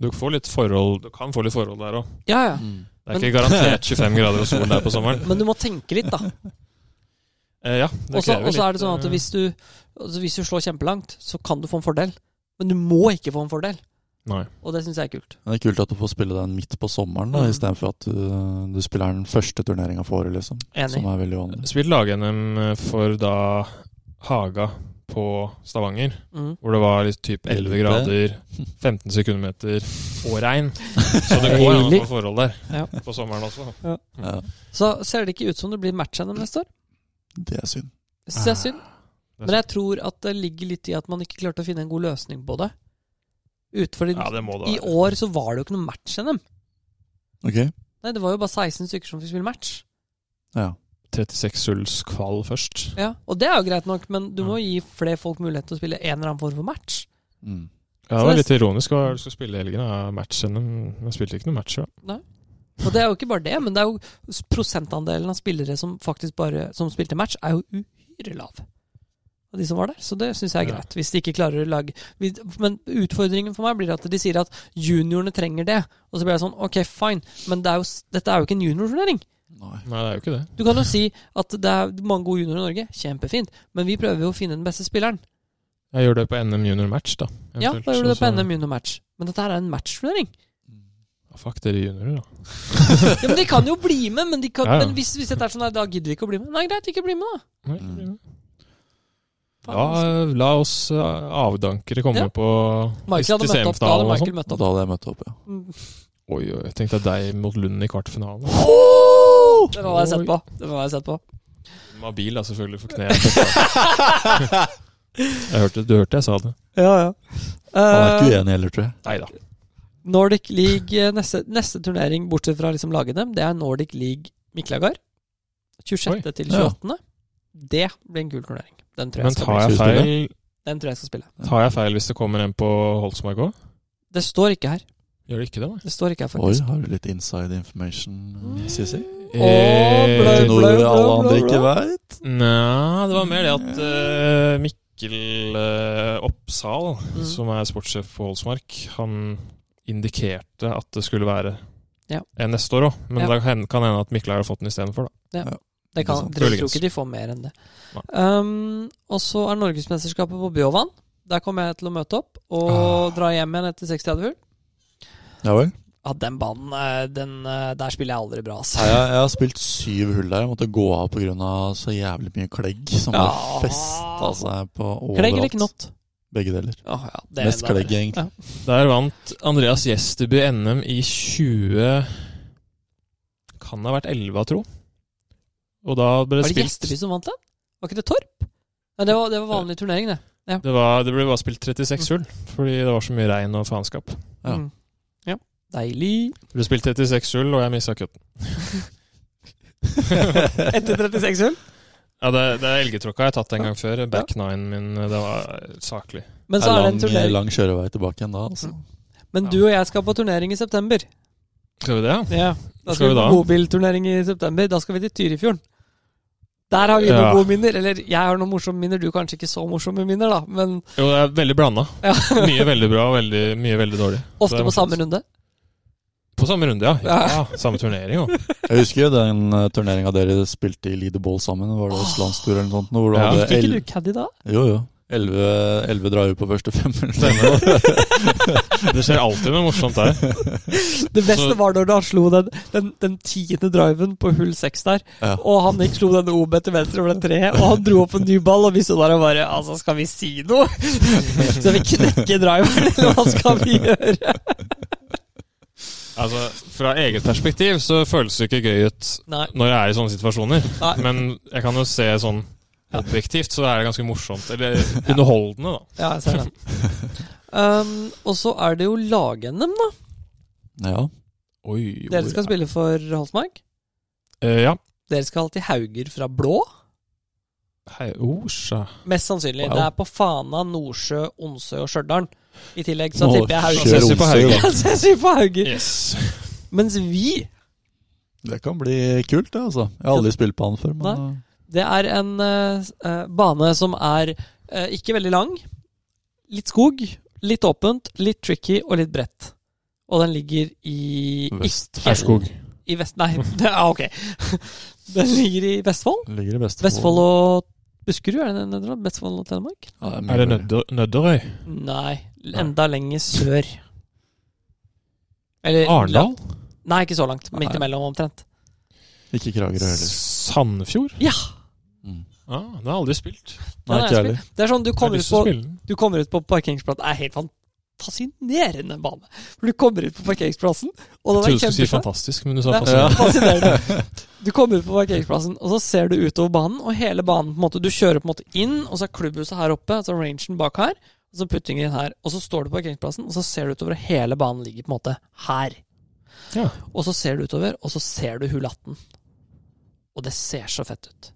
B: Du får litt forhold Du kan få litt forhold der òg.
C: Ja, ja.
D: Mm.
B: Det er ikke garantert 25 grader og sol der på sommeren.
C: Men du må tenke litt, da.
B: Eh, ja, det
C: Og så
B: krever
C: og så er
B: litt,
C: det sånn at
B: eh,
C: hvis du, altså hvis du slår kjempelangt, så kan du få en fordel. Men du må ikke få en fordel,
B: Nei.
C: og det syns jeg er kult.
D: Men Det er kult at du får spille den midt på sommeren, da,
C: Mm.
D: istedenfor at eh, du, du spiller den første turneringa for året, liksom.
C: Enig.
D: Som er veldig vanlig.
B: Spilt lag-NM eh, for da Haga på Stavanger,
C: Mm.
B: hvor det var litt typ 11
D: Elleve.
B: grader, 15 sekundmeter og regn. Så det går an å
C: Deilig.
B: få forhold der
C: Ja.
B: på sommeren også.
D: Ja,
C: Så ser det ikke ut som det blir match NM neste år.
D: det er synd.
C: Det syns jeg er synd.
B: Ah, er
C: Men jeg tror at det ligger litt i at man ikke klarte å finne en god løsning på det. Ut fordi
B: Ja, det må det
C: i
B: være.
C: år så var det jo ikke noe match NM.
D: Ok?
C: Nei, det var jo bare 16 stykker som fikk spille match.
D: Ja.
B: 36 Suls kval først.
C: Ja, Og det er jo greit nok, men du må gi flere folk mulighet til å spille en eller annen form for match.
D: Mm.
B: Ja,
C: Så
B: det var
C: det-
B: litt ironisk hva du skal spille i helgen. da. Match NM. Jeg spilte ikke noe match, ja.
C: Og det er jo ikke bare det, men det er jo s- prosentandelen av spillere som faktisk bare som spilte match, er jo uhyre lav. Av de som var der. Så det syns jeg er
B: Ja.
C: greit. Hvis de ikke klarer å lage hvis- Men utfordringen for meg blir at de sier at juniorene trenger det. Og så blir jeg sånn Ok, fine, men det er jo, s- dette er jo ikke en juniorturnering.
D: Nei.
B: Nei, det er jo ikke det.
C: Du kan jo si at det er mange gode juniorer i Norge. Kjempefint. Men vi prøver jo å finne den beste spilleren.
B: Jeg gjør det på NM junior match, da.
C: Ja,
B: eventuelt,
C: da gjør du det på
B: så-
C: NM junior match. Men dette her er en matchturnering.
B: Ja, Fuck dere juniorer, da.
C: Ja, men de kan jo bli med, men, de kan,
B: Ja, ja.
C: men hvis, hvis dette er sånn, nei, da gidder vi ikke å bli med. Nei, greit, ikke bli med, da.
B: Nei,
D: Mm.
B: det blir det.
C: Faen, altså.
B: La, la oss eh, avdankere komme
C: Ja.
B: på
C: Michael hadde møtt opp. Da hadde
B: og
C: Michael møtt
D: Da
C: opp.
D: hadde jeg møtt opp, ja.
B: Oi, oi, jeg tenkte deg mot Lund i kvartfinalen.
C: Den hadde jeg sett på. Den hadde jeg sett på.
B: Mabil, da, selvfølgelig, for kneet. jeg hørte, du hørte jeg sa det.
C: Ja, ja.
D: Han er ikke
C: Eh,
D: uenig heller, tror jeg.
B: Nei da.
C: Nordic League eh, neste, neste turnering, bortsett fra liksom lagene, det er Nordic League Miklagard. 26. til
D: Ja.
C: 28. Det blir en kul turnering. Den tror, jeg
B: Men tar
C: skal
B: jeg
D: Skal du
B: feil
C: bli- den tror jeg skal spille.
B: Tar jeg feil hvis det kommer en på Holsmark òg?
C: Det står ikke her.
B: Gjør det ikke det, nei?
C: Det står ikke her,
D: Oi,
C: faktisk. Mm.
D: har du litt inside information, Sissy?
C: Åh,
B: Eh,
C: Blau,
D: Noe
C: blau, blau,
D: alle andre
C: blau,
D: ikke
C: blau.
D: veit?
B: Nei, det var mer det at eh, Mikkel eh, Oppsal,
C: Mm.
B: som er sportssjef på Holsmark, han indikerte at det skulle være
C: Ja.
B: en neste år òg. Men
C: Ja.
B: det kan kan hende at Mikkel har fått den istedenfor, da.
C: Det kan,
D: Ikke sant.
C: dere tror
B: Muligens.
C: ikke de får mer enn det.
B: Nei.
C: Um, og så er Norgesmesterskapet på Bjåvann. Der kommer jeg til å møte opp og
B: Ah.
C: dra hjem igjen etter 36 hull.
D: Ja vel.
C: Ja, den banen, eh, den, eh, der spiller jeg aldri bra, altså.
D: Nei, jeg, jeg har spilt syv hull der. Jeg måtte gå av pga. så jævlig mye klegg som
C: Ja.
D: har festa seg på overalt.
C: Klegg eller knott?
D: Begge deler.
C: Åh, ja, det er
D: Mest
C: enda verre.
D: klegg, egentlig.
B: Der vant Andreas Gjesteby NM i 20 Kan det ha vært 11, tro. Og da ble det
C: Var det
B: spilt
C: Gjesteby som vant den? Var ikke det Torp? Nei, det var, det var vanlig turnering, det.
B: det, var, det ble bare spilt 36 hull, fordi det var så mye regn og faenskap.
D: Ja.
C: Mm. ja. Deilig.
B: Det ble spilt 36 hull, og jeg mista cutten.
C: Etter 36 hull.
B: Ja, det, det er elgetråkka jeg har tatt en gang før. Back nine min, det var saklig.
C: Men
D: Det
C: så er
D: er
C: det en
D: lang,
C: turnering.
D: lang kjørevei tilbake igjen da, altså.
C: Men du og jeg skal på turnering i september.
B: Skal vi det?
C: Ja.
B: Skal
C: Da skal
B: vi
C: vi på
B: da?
C: bobilturnering i september. Da skal vi til Tyrifjorden. Der har vi
B: Ja.
C: noen gode minner. Eller jeg har noen morsomme minner, du kanskje ikke så morsomme minner, da. Men
B: Jo, det er veldig blanda.
C: Ja.
B: Mye veldig bra og veldig, mye veldig dårlig. Så
C: ofte
B: det er
C: på samme
B: morsomt.
C: runde.
B: På samme runde, ja.
C: Ja.
B: ja. Samme turnering, jo.
D: Jeg husker jo den eh, turneringa dere spilte i Leaderball sammen. Var det Østlandstur eller noe sånt? nå, Hvor du
B: Ja.
D: hadde
C: Gikk ikke
D: el-
C: du caddy da?
D: Jo, jo. Elleve elleve drar jo på første femmeren.
B: Stemmer det. Det skjer alltid noe morsomt der.
C: Det beste
B: Så-
C: var når han slo den, den, den tiende driven på hull seks der.
D: Ja.
C: Og han gikk slo den OB til venstre over den treet, og han dro opp en ny ball, og vi så der og bare Altså, skal vi si noe? Skal vi knekke driveren, eller hva skal vi gjøre?
B: Ja, Altså, Fra eget perspektiv så føles det ikke gøy ut
C: Nei.
B: når jeg er i sånne situasjoner.
C: Nei.
B: Men jeg kan jo se sånn objektivt, så er det ganske morsomt. Eller underholdende, da.
C: Ja, jeg ser den. Um, og så er det jo lag-NM, da.
D: Ja.
B: Oi,
C: Dere skal spille for Holsmark.
B: Eh, Ja.
C: Dere skal til Hauger fra Blå.
B: Hei, oh, osja.
C: Mest sannsynlig.
B: Wow.
C: Det er på Fana, Nordsjø, Onsø og Stjørdal. I tillegg så
D: Nå
C: tipper jeg
B: kjør.
C: Hauger.
B: Ses vi på
D: Romsøy,
B: Haugen.
D: da.
C: Så jeg sier på Hauger.
B: Yes.
C: Mens vi
D: Det kan bli kult, det, altså. Jeg har aldri spilt på han før, men
C: Det er en eh, eh, bane som er eh, ikke veldig lang. Litt skog, litt åpent, litt tricky og litt bredt. Og den ligger i
D: Vest-
C: ikke- I vest, nei, det, ah, ok. Den ligger i Vestfold.
D: det ligger i Vestfold.
C: Vestfold og Buskerud, er det det? heter? Vestfold og Telemark?
D: Ja, det mye
B: Er det
D: bedre.
B: Nødder, Nødderøy?
C: Nei, enda lenger sør. Eller
B: Arendal?
C: Nei, ikke så langt. Midt
D: Nei.
C: imellom, omtrent.
D: Ikke Kragerø heller.
B: Sandefjord?
C: Ja!
D: Mm.
B: Ah, den har jeg aldri spilt. Jeg
C: Den
D: Nei,
C: har
D: ikke
C: jeg
D: heller.
C: spilt. Det er sånn du
B: har
C: kommer ut
B: lyst til å
C: på
B: spille den.
C: Du kommer ut på parkeringsplassen. Det er helt fan- fascinerende bane. For du kommer ut på parkeringsplassen, og den
B: Jeg trodde
C: er
B: du skulle si
C: kjempesvær.
B: fantastisk, men du sa
C: Det er
B: fascinerende.
C: Fascinerende. Du kommer ut på parkeringsplassen, og så ser du utover banen, og hele banen på en måte, Du kjører på en måte inn, og så er klubbhuset her oppe, så er rangen bak her, og så puttingen din her. Og så står du på parkeringsplassen, og så ser du utover, og hele banen ligger på en måte her.
B: Ja.
C: Og så ser du utover, og så ser du hull 18. Og det ser så fett ut.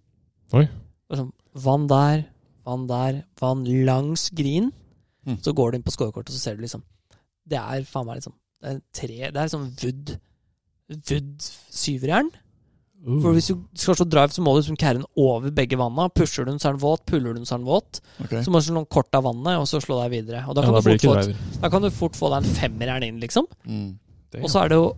B: Oi.
C: Det er sånn, vann der, vann der, vann langs green.
D: Mm.
C: Så går du inn på scorekortet, og så ser du liksom Det er faen meg liksom Det er tre Det er sånn wood Wood syverjern.
B: Uh.
C: For hvis du skal slå drive, så må du liksom carry den over begge vanna. Pusher du den, så er den våt. Puller du den, så er den våt.
D: Ok.
C: Så må du slå den kort av vannet, og så slå deg videre. Og da
B: Ja,
C: kan,
B: da
C: du,
B: blir det
C: fort
B: ikke
C: få, et-
B: driver.
C: da kan du fort få deg en femmerjern inn, liksom.
D: Mm.
C: Og så er det jo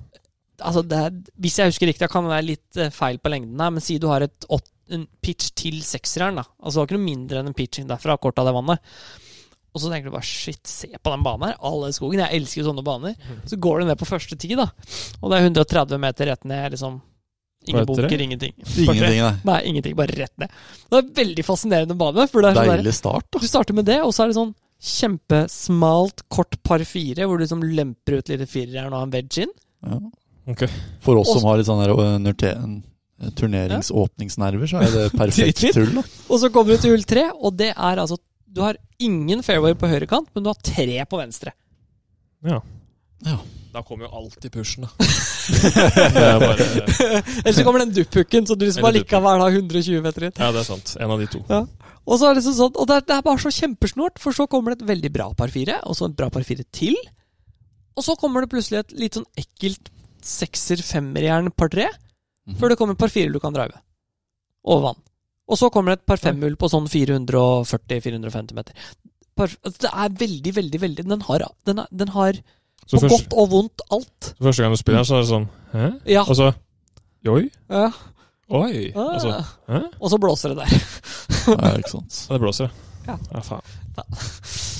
C: altså det er, Hvis jeg husker riktig, det kan det være litt eh, feil på lengden her, men si du har et åt, en pitch til sekseren, da. Altså det var ikke noe mindre enn en pitch inn derfra, kort av det vannet. Og så tenker du bare shit, se på den banen her. Alle i skogen. Jeg elsker jo sånne baner. Så går du ned på første ti, da. Og det er 130 meter rett ned, liksom.
B: Bare
C: Ingen
B: tre?
C: bunker, ingenting.
D: Ingenting, nei.
C: Nei, ingenting. Bare rett ned. Det er veldig fascinerende bane. For det er sånn der,
D: Deilig start, da.
C: du starter med det, og så er det sånn kjempesmalt, kort par fire, hvor du liksom lemper ut lille fireren og en wedge inn.
D: Ja.
B: Ok.
D: For oss
C: Og-
D: som har litt sånn der, øh, nurte- øh, turneringsåpningsnerver, så er det perfekt
C: Dritfint.
D: tull, da.
C: Og så kommer du til hull tre, og det er altså Du har ingen fairway på høyre kant, men du har tre på venstre.
B: Da kommer jo alltid pushen, da. det er bare,
C: Eller så kommer den dupphooken, så du liksom
B: Eller
C: allikevel har 120 meter inn.
B: ja, det er sant. En av de to.
C: Og så er det liksom sånn, og det er, det er bare så kjempesnort, for så kommer det et veldig bra par fire, og så et bra par fire til. Og så kommer det plutselig et litt sånn ekkelt sekser-femmerjern par tre, før det kommer et par fire du kan drive. Over vann. Og så kommer det et par femhull på sånn 440-450 meter. Par, altså, det er veldig, veldig, veldig Den har, den er, den har
B: Så
C: på
B: første,
C: godt og vondt alt.
B: så første gang du spiller her, så er det sånn Hæ?
C: Ja.
B: Og så Joi?
C: Ja.
B: Oi. Og
C: Ah.
B: så Altså, Hæ?
C: Og så blåser det der.
D: Ja, ikke sant.
B: Ja, det blåser,
C: Ja.
B: ja. faen.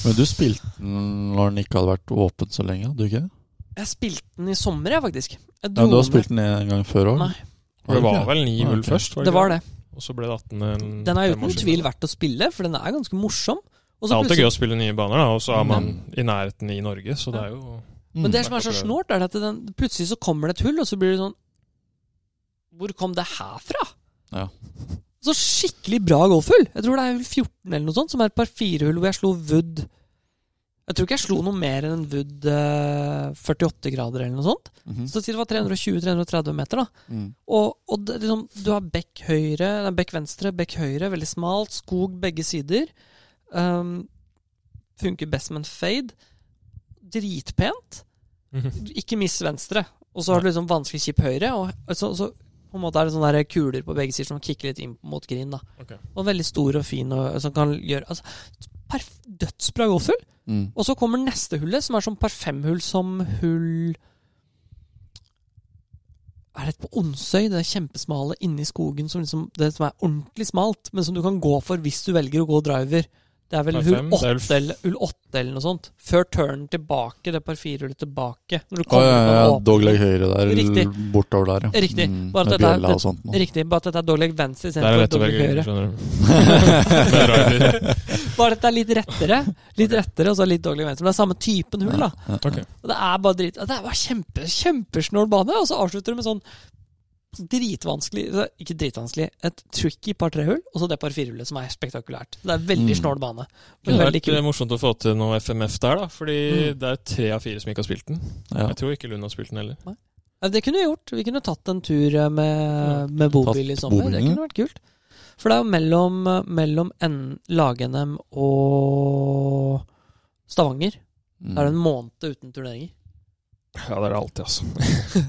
D: Men du spilte den når den ikke hadde vært åpen så lenge, hadde du ikke?
C: Jeg spilte den i sommer, jeg, faktisk. Jeg
D: Ja,
C: dro
D: du har
C: den-
D: spilt den en gang før òg?
C: Nei.
B: For det var vel 9-0
D: Ok.
B: først?
C: Det var det.
B: ikke? Og så ble det 18 en-
C: Den er
B: Mm, fem år
C: uten
B: siden.
C: tvil verdt å spille, for den er ganske morsom. Og
B: Det er
C: så
B: alltid
C: plutselig-
B: gøy å spille nye baner, da, og så er man i nærheten i Norge, så det er jo
D: Mm.
C: Men det som er
B: verdt
C: så
B: å Mm. prøve.
C: snålt, er at den, plutselig så kommer det et hull, og så blir det sånn Hvor kom det herfra?
D: Ja.
C: Så skikkelig bra golfhull. Jeg tror det er hull 14 eller noe sånt, som er et par firehull hvor jeg slo wood Jeg tror ikke jeg slo noe mer enn en wood eh, 48 grader eller noe sånt.
D: Mhm.
C: Så det var 320-330 meter, da.
D: Mm.
C: Og, og det, liksom, du har bekk høyre, nei, bekk venstre, bekk høyre, veldig smalt, skog begge sider. Um, funker best med en fade. Dritpent.
B: Mhm.
C: Du- Ikke miss venstre. Og så har du liksom vanskelig kjipp høyre, og så, så på en måte er det sånne der kuler på begge sider som kikker litt inn mot green. da.
B: Ok.
C: Og veldig stor og fin og som kan gjøre altså, perf Dødsbra golfhull.
D: Mm.
C: Og så kommer neste hullet, som er sånn par fem-hull som hull Er det et på Onsøy? Det er kjempesmale inni skogen, som liksom, det som er ordentlig smalt, men som du kan gå for hvis du velger å gå driver. Det er vel
B: Par
C: hull
B: fem, det er
C: 8,
B: vel f-
C: eller, hull åtte eller noe sånt. Før turnen tilbake, det par fire hullet tilbake. Når du
D: Å,
C: kommer
D: ja, ja,
C: på
D: ja,
C: den åpne-
D: dogleg høyre der,
C: Riktig.
D: bortover der, ja.
C: Riktig.
D: Mm,
C: Bare at
D: med
C: dette er-
D: bjella og sånt nå.
C: Riktig, bare at dette er dogleg venstre
B: Der er
C: istedenfor
B: lett å
C: dogleg
B: velge
C: høyre.
B: grunn, skjønner du.
C: Bare dette er litt rettere, litt rettere, og så litt dogleg venstre. Men det er samme typen hull, da.
D: Ja, ja.
B: Ok.
C: Og det er bare drit Det er bare kjempe, kjempesnål bane, og så avslutter du med sånn dritvanskelig Ikke dritvanskelig, et tricky par tre-hull, og så det par fire-hullet, som er spektakulært. Det er veldig
D: Mm.
C: snål bane.
B: Det
C: Men
B: hadde
C: veldig
B: vært
C: kul.
B: eh, morsomt å få til noe FMF der, da. Fordi
C: Mm.
B: det er tre av fire som ikke har spilt den.
D: Ja.
B: Jeg tror ikke Lund har spilt den heller.
C: Ja, det kunne vi gjort. Vi kunne tatt en tur eh, med, med bobil i
D: Tatt
C: sommer. Det
D: bobilen, ja.
C: kunne vært kult. For det er jo mellom, mellom N- lag-NM og Stavanger. Det er en
D: Mm.
C: måned uten turneringer.
B: Ja, det er det alltid, altså.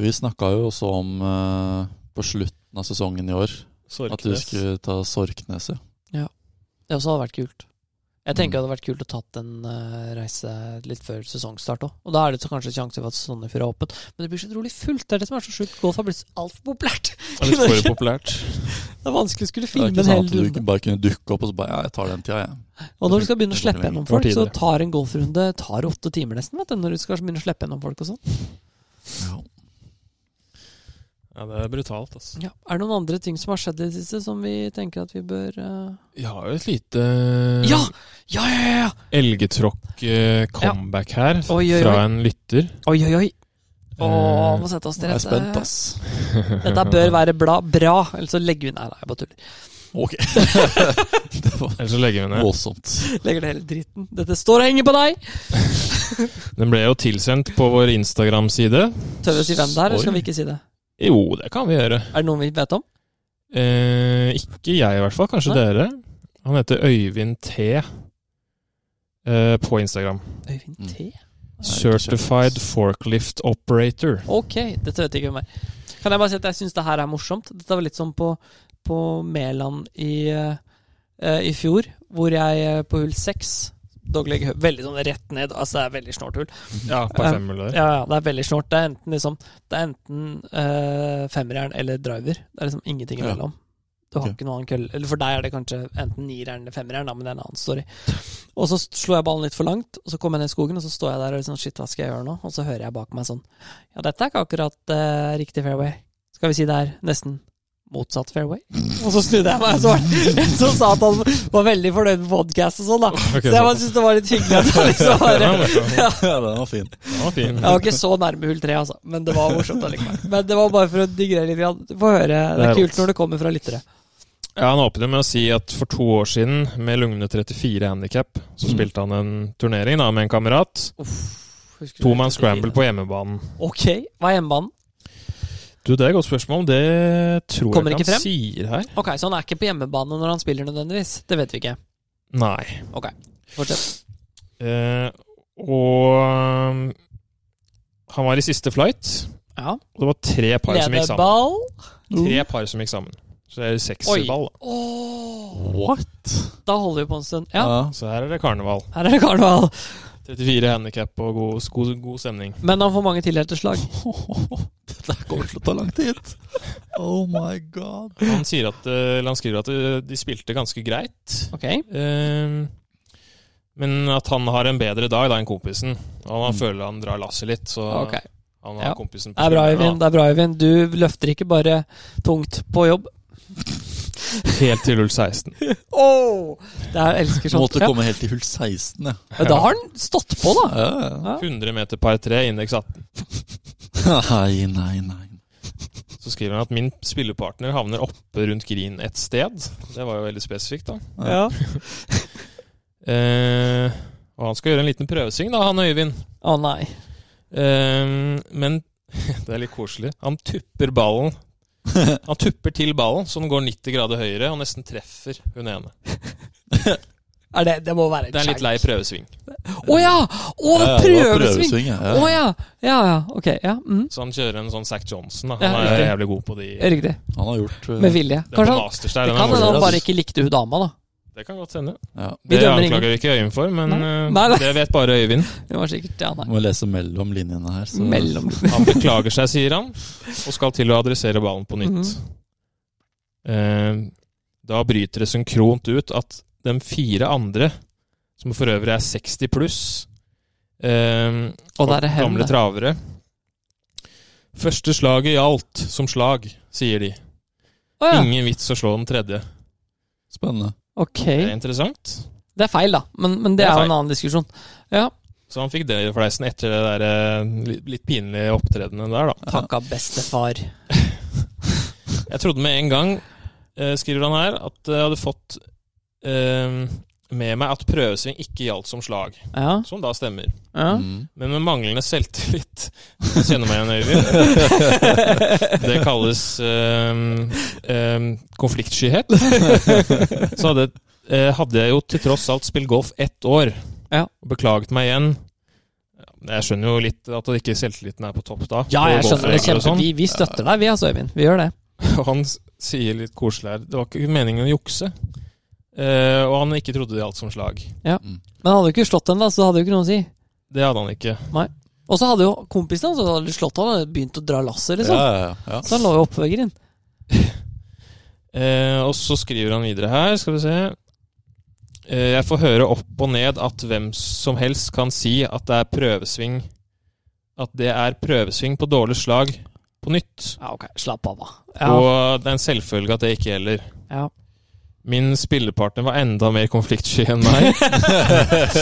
D: Vi snakka jo også om eh, på slutten av sesongen i år at vi
B: Sorknes.
D: skulle ta Sorkneset.
C: Det også hadde vært kult. Jeg tenker det
D: Mm.
C: hadde vært kult å tatt en eh, reise litt før sesongstart òg. Og da er det så kanskje sjanse for at Sandefjord er åpent. Men det blir så utrolig fullt. Det er det som er så sjukt. Golf har blitt altfor populært.
B: Det er Litt for populært.
C: Det er vanskelig å skulle
D: Det er
C: filme
D: ikke
C: en
D: sånn
C: hel
D: at du
C: runde.
D: ikke bare kunne dukke opp og så bare Ja, jeg tar den tida, jeg.
C: Og når du skal begynne å
D: Det tok
C: slippe gjennom
D: lenge.
C: folk,
B: Det
C: så
B: var tidligere.
C: tar en golfrunde tar åtte timer nesten. vet du, Når du skal begynne å slippe gjennom folk og sånn.
D: Ja.
B: Ja, det er brutalt, altså.
C: Ja. Er det noen andre ting som har skjedd i det siste som vi tenker at vi bør eh,
B: Vi har jo et lite
D: Eh.
B: eh,
C: Ja! Ja, ja, ja! ja!
B: elgetråkk-comeback eh, her
C: Oi, oi, oi.
B: fra en lytter.
C: Oi, oi, oi. Å,
B: Eh,
C: må sette oss til
D: Jeg er
C: rette.
D: spent, altså. ass.
C: Dette bør være bla, bra, ellers så legger vi Nei, nei, jeg bare tuller.
D: Ok. det var
B: Ellers så legger vi ned.
D: voldsomt.
C: Legger det hele dritten. Dette står og henger på deg!
B: Den ble jo tilsendt på vår Instagram-side.
C: Tør vi å si hvem det er, eller skal
B: Oi.
C: vi ikke si det?
B: Jo, det kan vi gjøre.
C: Er det noen vi vet om?
B: Eh, ikke jeg, i hvert fall. Kanskje
C: Nei.
B: dere. Han heter Øyvind T. Eh, på Instagram.
C: Øyvind T?
B: Certified Forklift Operator.
C: Ok, dette vet jeg ikke hvem er. Kan jeg bare si at jeg syns det her er morsomt? Dette var litt som på, på Mæland i, eh, i fjor, hvor jeg eh, på hull seks Dogleg hø- veldig sånn rett ned. Altså, det er veldig snålt hull.
B: Ja, par
C: Eh,
B: femmere der.
C: Ja, ja, det er veldig snålt. Det er enten liksom Det er enten eh, femmerjern eller driver. Det er liksom ingenting
D: Ja.
C: imellom. Du har
D: Ok.
C: ikke noen annen kølle Eller for deg er det kanskje enten nierjern eller femmerjern, da, men det er en annen story. Og så slo jeg ballen litt for langt, og så kom jeg ned i skogen, og så står jeg der og liksom Shit, hva skal jeg gjøre nå? Og så hører jeg bak meg sånn Ja, dette er ikke akkurat eh, riktig fairway. Skal vi si det er nesten motsatt fairway? Og så snudde jeg meg, og så var det en som sa at han var veldig fornøyd med podcast og sånn, da.
B: Ok,
C: Så jeg bare
B: såpass.
C: syntes det var litt hyggelig at han liksom
B: Ja,
C: bare
B: den var-
D: Ja, den var fin.
B: den var fin.
C: jeg var ikke så nærme hull tre, altså. Men det var morsomt allikevel. Men det var bare for å digrere litt. grann. Få høre. Det
B: Det
C: er
B: er
C: kult
B: rått.
C: når det kommer fra lyttere.
B: Ja, Han åpner med å si at for to år siden, med lugne 34 handikap, så
D: Mm.
B: spilte han en turnering da, med en kamerat.
C: Husker du
B: Toman
C: det?
B: scramble på hjemmebanen.
C: Ok, hva er hjemmebanen?
B: Du, Det er et godt spørsmål. Det tror
C: Kommer
B: jeg
C: ikke
B: ikke
C: frem?
B: han sier her.
C: Ok, Så han er ikke på hjemmebane når han spiller nødvendigvis? Det vet vi ikke.
B: Nei.
C: Fortsett.
B: Eh, og um, han var i siste flight.
C: Ja.
B: Og det var tre par som gikk sammen.
C: Ledeball.
B: Tre par som gikk sammen. Så det er sekserball. da.
C: Åh,
D: What?
C: Da holder vi på en stund. Ja,
B: Så her er det karneval.
C: her er det karneval.
B: 34 handikap og god, god, god stemning.
C: Men han får mange tildelte slag.
D: Dette her kommer til å ta lang tid. Oh my god.
B: Han, sier at, eh, eller han skriver at eh, de spilte ganske greit.
C: Ok.
B: Eh, men at han har en bedre dag da enn kompisen. Og han
D: Mm.
B: føler han drar lasset litt, så
C: ok.
B: han har
C: Ja.
B: kompisen
C: Det er bra,
B: skulderen,
C: Øyvind. Det er bra, Øyvind. Du løfter ikke bare tungt på jobb.
B: da. Helt til hull 16.
C: Åh, Det er jeg elsker sånt.
D: Måtte
C: Ja.
D: komme helt til hull 16, ja.
C: Ja, Da har han stått på, da.
D: Ja, ja.
B: 100 meter par 3, indeks 18.
D: Nei, nei, nei.
B: Så skriver han at min spillepartner havner oppe rundt green et sted. Det var jo veldig spesifikt, da.
C: Ja.
B: Eh, og han skal gjøre en liten prøvesving, da, han Øyvind.
C: Å nei.
B: Eh, men det er litt koselig. Han tupper ballen. Han tupper til ballen, så den går 90 grader høyere og nesten treffer hun ene.
C: Er det, det må være
B: Det er en litt lei prøvesving.
C: Å ja! Å, det
D: Ja,
C: er
D: ja, det var
C: prøvesving!
D: ja,
C: Å
D: ja.
C: ja. ja! Ja, ok. Ja. Mm.
B: Så han kjører en sånn Zack Johnson. Da.
C: Ja,
B: Han er
C: riktig.
B: jævlig god på de det
C: Riktig.
D: Han har gjort eh,
C: Med vilje.
B: er på
C: Kanskje han,
B: masters der.
C: det
B: den er
C: kan hende
B: morsom.
C: han
D: altså.
C: bare ikke likte hun dama, da.
B: Det kan godt hende.
D: ja.
C: Vi
B: Det
C: dømmer
B: anklager ikke Øyvind for, men
C: Nei.
B: eh,
C: Nei, nei.
B: det vet bare Øyvind.
C: Det var sikkert ja, nei.
D: Må lese mellom linjene her. Så.
C: Mellom
B: Han beklager seg, sier han, og skal til å adressere
C: Mhm.
B: ballen på nytt. Eh, da bryter det synkront ut at de fire andre, som for øvrig er 60 pluss, eh,
C: Og der er
B: gamle
C: hevn.
B: travere Første slaget gjaldt som slag, sier de.
C: Å ja.
B: Ingen vits å slå den tredje.
D: Spennende.
C: Ok.
B: Det er interessant.
C: Det er feil, da. Men, men det,
B: Det er
C: er jo
B: feil.
C: en annen diskusjon. Ja.
B: Så han fikk det i fleisen etter det der eh, litt- litt pinlige opptredenet der, da.
C: Takka bestefar.
B: Jeg trodde med en gang, eh, skriver han her, at jeg hadde fått eh, med meg at prøvesving ikke gjaldt som slag,
C: Ja.
B: som da stemmer.
C: ja.
D: Mm.
B: Men med manglende selvtillit Jeg kjenner meg igjen, Øyvind. Det kalles øhm, øhm, konfliktskyhet. Så hadde, eh, hadde jeg jo til tross alt spilt golf ett år.
C: Ja.
B: Og beklaget meg igjen. Jeg skjønner jo litt at ikke selvtilliten er på topp da.
C: Ja,
B: på
C: jeg skjønner det.
B: golfregler og
C: Kjempe.
B: sånn.
C: Vi, vi støtter deg, vi altså, Øyvind. Vi gjør det.
B: Og han s- sier litt koselig her Det var ikke meningen å jukse. Eh, og han ikke trodde det gjaldt som slag.
C: Men hadde du ikke slått den, da, så hadde du ikke noe å si.
B: Det hadde han ikke.
C: Og så hadde jo kompisen hans som hadde slått han, hadde begynt å dra lasset,
D: Ja,
C: liksom.
D: ja, ja.
C: Så han lå jo oppå veggen.
B: Eh, og så skriver han videre her, skal vi se. Eh, jeg får høre opp og ned at hvem som helst kan si at det er prøvesving At det er prøvesving på dårlig slag på nytt.
C: Ja, ok. Slapp av, da. Ja.
B: Og det er en selvfølge at det ikke gjelder.
C: Ja.
B: Min spillepartner var enda mer konfliktsky enn meg.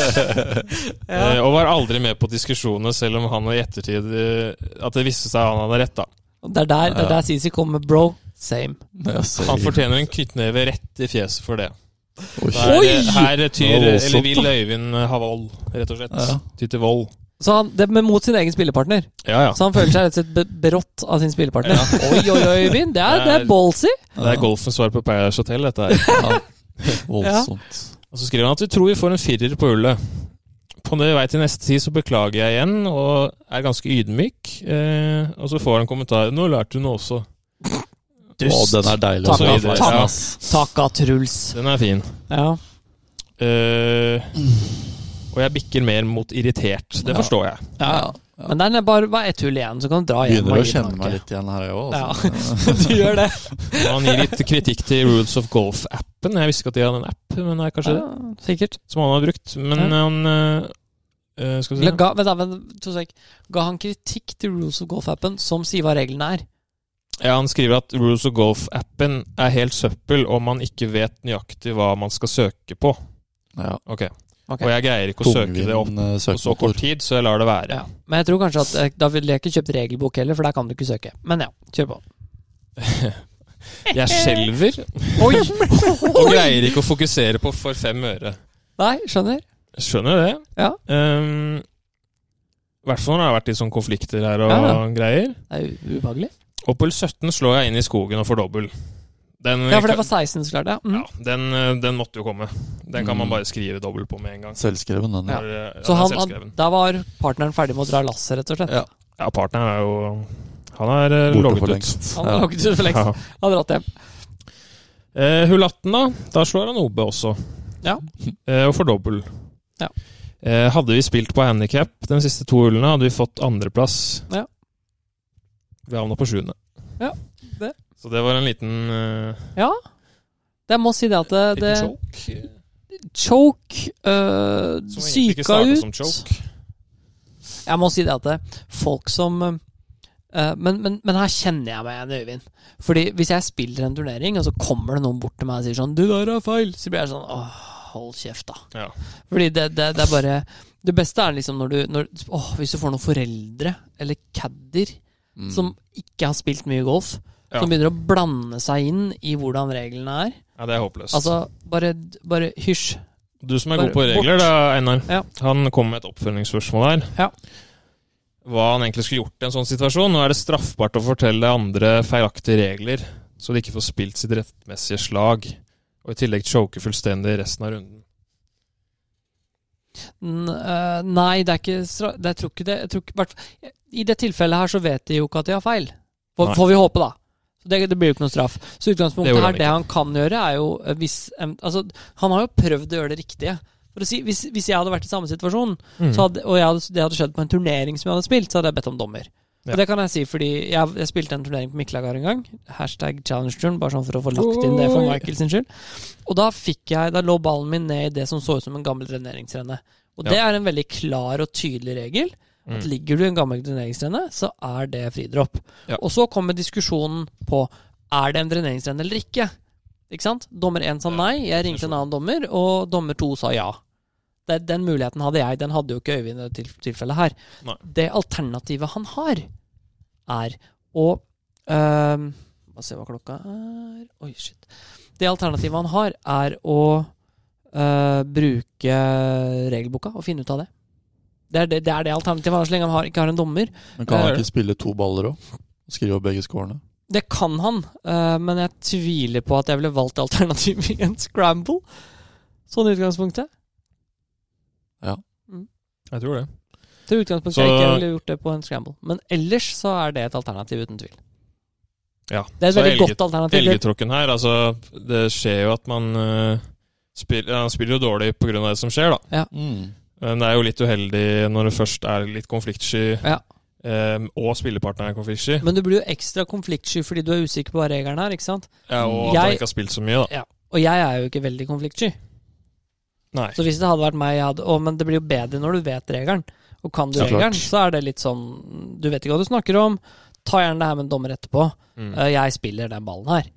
B: eh, og var aldri med på diskusjonene, selv om han i ettertid eh, At det viste seg han hadde rett, da.
C: Det er der, det er der Sisi kommer med bro. Same.
D: Jeg ser-
B: Han fortjener en knyttneve rett i fjeset for det.
D: Oi.
B: Her, her tyr,
D: Det var voldsomt,
B: eller vil Øyvind eh, ha vold, rett og slett.
D: Ja.
B: Ty til vold.
C: Så han, det med mot sin egen spillepartner.
B: Ja, ja.
C: Så han føler seg rett og slett be- berått av sin spillepartner. Sånn Oi, oi, oi, Øyvind. Det er, det er ballsy.
B: Det er golfens svar på Paradise Hotel, dette her.
D: Voldsomt.
B: Og så skriver han at vi tror vi får en firer på hullet. På det vei til neste tid så beklager jeg igjen, og er ganske ydmyk. Eh, og så får han en kommentar. 'Nå lærte du noe også'.
D: Å, den er deilig.
B: Og så
D: å
C: Takk,
D: se.
B: videre.
C: takk.
B: Ja,
C: Takka Truls.
B: den er fin.
C: Ja.
B: Eh, og jeg bikker mer mot irritert. Det
D: Ja.
B: forstår jeg.
C: ja. Men det er bare, bare ett hull igjen, så kan du dra hjem. og
D: Begynner å
C: gi den
D: kjenne meg
C: anke.
D: litt igjen her, jeg òg.
C: Ja.
D: Altså.
C: du gjør det.
B: Og han gir litt kritikk til Rules of Golf-appen. Jeg visste ikke at de hadde en app, men det er kanskje det.
C: Ja, sikkert.
B: som han har brukt. Men
C: Ja.
B: han eh, eh, Skal vi
C: Eller
B: se
C: Ga, vent da, vent, to sek. Ga han kritikk til Rules of Golf-appen, som sier hva reglene er?
B: Ja, Han skriver at Rules of Golf-appen er helt søppel om man ikke vet nøyaktig hva man skal søke på.
D: altså. Ja.
B: Ok.
C: Ok.
B: Og jeg greier ikke å søke det opp
D: Tungvint, eh,
B: på så kort
D: søkemotor.
B: tid, så jeg lar det være.
C: Ja. Men jeg tror kanskje at eh, da ville jeg ikke kjøpt regelbok heller, for der kan du ikke søke. Men ja, kjør på.
B: Jeg skjelver
C: Oi!
B: og greier ikke å fokusere på for fem øre.
C: Nei, skjønner.
B: Jeg Skjønner det.
C: Ja.
B: Ehm, I hvert fall når det har vært litt sånn konflikter her og
C: Ja, ja.
B: greier.
C: Det er u- ubehagelig.
B: Og på hull 17 slår jeg inn i skogen og får dobbel. Den,
C: Ja, for det var 16 som klarte det. Mm.
B: ja, den, eh, den måtte jo komme. Den kan
D: Mm.
B: man bare skrive dobbel på med en gang.
D: Selvskreven, den.
B: Når, eh,
C: Så
B: den er
C: han, han,
B: selvskreven.
C: da var partneren ferdig med å dra lasset, rett og slett.
D: Ja.
B: Ja, partneren er jo Han er eh,
D: Borte for
B: logget ut.
D: lengst.
C: Han har lukket ut for lengst.
B: Ja.
C: Han har dratt hjem.
B: Eh, hull 18, da. Da slår han OB også.
C: Ja.
B: Eh, og får dobbel.
C: Ja.
B: Eh, hadde vi spilt på handikap de siste to hullene, hadde vi fått andreplass.
C: Ja.
B: Vi havna på sjuende.
C: Ja, det.
B: Så det var en liten, eh,
C: Det- Jeg må si det at det,
B: liten choke.
C: det Choke øh,
B: Som egentlig ikke
C: Syka
B: startet
C: ut.
B: som choke.
C: Jeg må si det at det, folk som øh, men, men, men her kjenner jeg meg igjen, Øyvind. Fordi hvis jeg spiller en turnering, og så kommer det noen bort til meg og sier sånn 'Du der er feil', så blir jeg sånn åh, hold kjeft, da.
B: Ja.
C: Fordi det, det, det er bare Det beste er liksom når du når, åh, Hvis du får noen foreldre, eller cadder,
D: Mm.
C: som ikke har spilt mye golf,
B: Ja.
C: som begynner å blande seg inn i hvordan reglene er.
B: ja, det er håpløst.
C: Altså, bare, bare hysj.
B: Du som er
C: Bare
B: god på regler,
C: bort.
B: da, Einar.
C: Ja.
B: Han kom med et oppfølgingsspørsmål her.
C: Ja.
B: Hva han egentlig skulle gjort i en sånn situasjon. Nå er det straffbart å fortelle andre feilaktige regler, så de ikke får spilt sitt rettmessige slag, og i tillegg choke fullstendig resten av runden.
C: N øh, nei, det er ikke stra- det, Jeg tror ikke det. Jeg tror ikke, hvert fall- I det tilfellet her så vet de jo ikke at de har feil. Får,
B: Nei.
C: får vi håpe, da. Så Det, det blir jo ikke noe straff. Så
B: Det
C: utgangspunktet
B: gjorde
C: her,
B: han
C: det
B: ikke.
C: han kan gjøre, er jo øh, hvis em, Altså, han har jo prøvd å gjøre det riktige. For å si, hvis,
B: Mm.
C: Mm. hvis jeg hadde vært i samme situasjon, så hadde, og jeg hadde, det hadde skjedd på en turnering som jeg hadde spilt, så hadde jeg bedt om dommer.
B: Ja.
C: Og det kan jeg si, fordi jeg, jeg spilte en turnering på Miklagard en gang. Hashtag challengeturn, bare sånn for å få lagt inn det for
B: Oi.
C: Michael sin skyld. Og da fikk jeg, da lå ballen min ned i det som så ut som en gammel dreneringsrenne. Og det er en veldig klar og tydelig regel. At
B: Mm.
C: ligger du i en gammel dreneringsrenne, så er det fridropp.
B: Ja.
C: Og så kommer diskusjonen på er det en dreneringsrenne eller ikke. Ikke sant? Dommer én sa
B: Ja,
C: nei, jeg ringte en annen dommer, og dommer to sa ja. Det, den muligheten hadde jeg, den hadde jo ikke Øyvind i det til, tilfellet her.
B: Nei.
C: Det alternativet han har, er å øhm, Må se hva klokka er Oi, shit. Det alternativet han har, er å øh, bruke regelboka og finne ut av det. Det er det, det, er det alternativet han har, så lenge han har, ikke har en dommer.
D: Men kan
C: Ja.
D: han ikke spille to baller òg? Skrive opp begge scorene?
C: Det kan han, eh, men jeg tviler på at jeg ville valgt alternativet i en scramble. Sånn i utgangspunktet.
B: Jeg tror det.
C: Til utgangspunktet
B: Så-
C: jeg ikke ville gjort det på en scramble. Men ellers så er det et alternativ, uten tvil.
B: Ja.
C: Det er et
B: Så
C: veldig
B: Helge-
C: godt alternativ. Det-
B: Elgetråkken her, altså Det skjer jo at man eh, spiller, Han spiller jo dårlig pga. det som skjer, da. Men det er jo litt uheldig når du først er litt konfliktsky,
C: Ja.
B: eh, og spillepartneren er konfliktsky,
C: Men du blir jo ekstra konfliktsky fordi du er usikker på hva regelen er, ikke sant?
B: ja, og at han
C: Jeg-
B: ikke har spilt så mye, da.
C: Og jeg er jo ikke veldig konfliktsky.
B: Nei.
C: Så hvis det hadde vært meg jeg hadde, å, Men det blir jo bedre når du vet regelen. Og kan du
D: Ja, klart.
C: regelen, så er det litt sånn Du vet ikke hva du snakker om. Ta gjerne det her med en dommer etterpå.
B: Mm.
C: Eh, Jeg spiller den ballen her.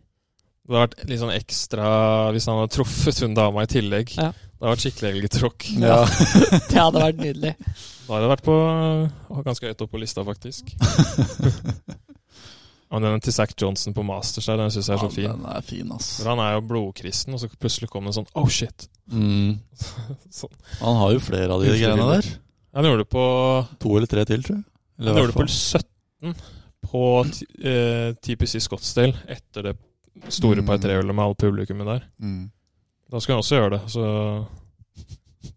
B: Det hadde vært litt sånn ekstra hvis han hadde truffet hun dama i tillegg.
C: Ja.
B: Det hadde vært skikkelig elgetråkk.
D: Ja.
C: Det hadde vært nydelig.
B: Da hadde det vært på ganske høyt opp på lista, faktisk. Men den til Zack Johnson på Masters her, den syns jeg er så
D: Ja,
B: fin.
D: Den er fin, ass.
B: For han er jo blodkristen, og så plutselig kom det en sånn Oh, shit!
D: Mm.
B: Sånn.
D: Han har jo flere av de greiene der.
B: Han gjorde det på
D: To eller tre til, tror jeg. Eller
B: Han
D: i
B: gjorde det på
D: hvert
B: 17 på t- eh, TPC Scottsdale etter det store
D: Mm.
B: par tre-ølet med alt publikummet der.
D: fall. Mm.
B: Da skulle han også gjøre det. Så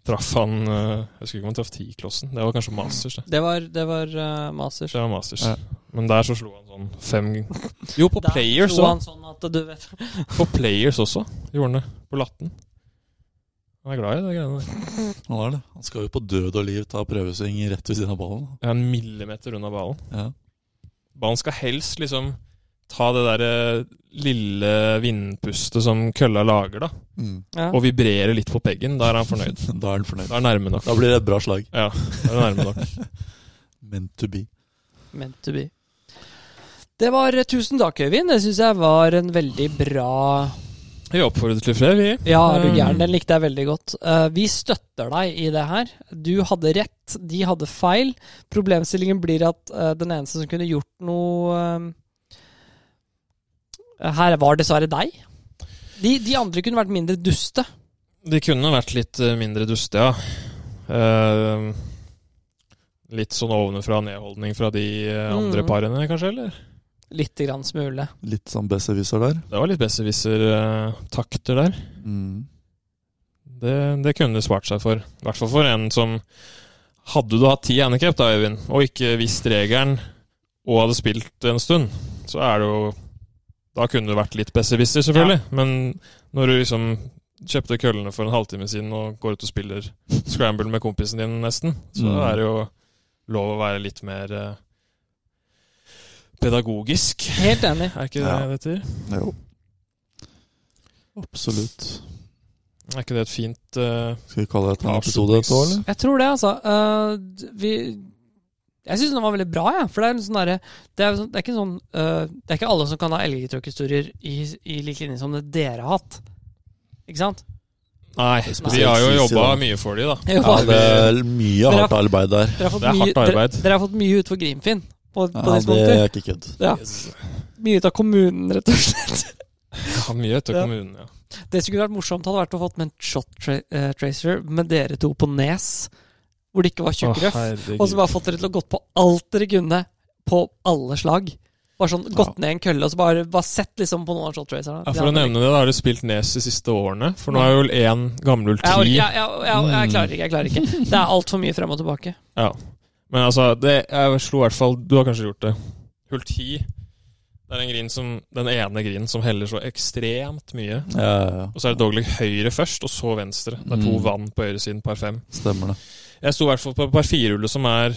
B: traff han eh, Jeg husker ikke om han traff T-klossen. Det var kanskje Masters, det.
C: Det var, det var eh, Masters.
B: Det var Masters.
D: Ja.
B: Men der så slo han sånn fem Jo, på
C: Der
B: Players
C: slo
B: òg.
C: han sånn at du vet
B: På Players også gjorde han det. På Latten. Han er glad i det greiene der.
D: Han er det. Han skal jo på død og liv ta prøvesving rett ved siden av ballen.
B: Jeg er en millimeter unna ballen.
D: Ja.
B: Ballen skal helst liksom ta det derre lille vindpustet som kølla lager, da.
D: Mm.
C: ja.
B: Og vibrere litt på peggen. Da er han fornøyd.
D: Da er han fornøyd.
B: Da er det nærme nok.
D: Da blir det et bra slag.
B: Ja, da er det nærme nok.
D: Meant to be.
C: Meant to be. Det var eh, Tusen takk, Øyvind. Det syns jeg var en veldig bra
B: Vi oppfordrer til flere, vi.
C: Ja, er du
B: Mm.
C: gæren? Den likte jeg veldig godt. Eh, vi støtter deg i det her. Du hadde rett, de hadde feil. Problemstillingen blir at eh, den eneste som kunne gjort noe eh, Her var dessverre deg. De, de andre kunne vært mindre duste.
B: De kunne vært litt eh, mindre duste, ja. Eh, litt sånn ovenfra og nedholdning fra de eh, andre
C: Mm.
B: parene, kanskje? eller?
C: Litt grann smule.
D: Litt sånn besserwisser der.
B: Det var litt besserwisser-takter der.
D: Mm.
B: Det, det kunne det spart seg for. I hvert fall for en som Hadde du hatt ti handikap, da, Øyvind, og ikke visst regelen og hadde spilt en stund, så er det jo Da kunne du vært litt besserwisser, selvfølgelig. Men når du liksom kjøpte køllene for en halvtime siden og går ut og spiller scramble med kompisen din nesten, så
D: Mm.
B: er det jo lov å være litt mer eh, pedagogisk.
C: Helt enig.
B: Er ikke det
D: Ja.
B: det heter?
D: Jo. Absolutt.
B: Er ikke det et fint eh,
D: Skal vi kalle det en episode et år, eller?
C: Jeg tror det, altså. Eh, d- vi Jeg syns den var veldig bra, jeg. for det er, en sånn derre- det er, jo sånn, det er ikke sånn eh, Det er ikke alle som kan ha elgetråkkhistorier i, i lik linje som det dere har hatt. Ikke sant?
B: Nei,
D: spesielt
B: vi har jo
D: sist i
B: jobba
D: dag.
B: mye for de, da.
C: Jeg
D: Ja,
C: bare-
D: det er mye hardt arbeid der.
C: dere, har fått
B: det er
C: mye,
B: hardt arbeid.
C: Dere, dere har fått mye ut for Grimfinn på, på
D: Ja,
C: disse
D: det
C: punkter.
D: er ikke kødd.
C: Ja. Mye ut av kommunen, rett og slett.
B: Ja, mye etter
C: Ja.
B: kommunen, ja.
C: Det som kunne vært morsomt, hadde vært å fått med en shot tra eh, tracer med dere to på Nes, hvor det ikke var tjukk røff. Og så bare fått dere til å gått på alt dere kunne på alle slag. Bare sånn gått ned en kølle og så bare, bare sett liksom på noen av shot tracerne.
B: ja, for å nevne det, da har du spilt Nes de siste årene. For nå er jo én gammel
C: jeg, orker,
B: ti.
C: jeg, jeg, jeg,
D: Mm.
C: jeg klarer ikke, jeg klarer ikke. Det er altfor mye frem og tilbake.
B: Ja. Men altså, det, jeg slo i hvert fall Du har kanskje gjort det. Hull ti. Det er en grind som, den ene grinden som heller så ekstremt mye.
D: Ja, ja, ja.
B: Og så er det dogleg høyre først, og så venstre. Det er to
D: Mm.
B: vann på høyresiden, par fem.
D: Stemmer det.
B: Jeg sto i hvert fall på par firehullet, som er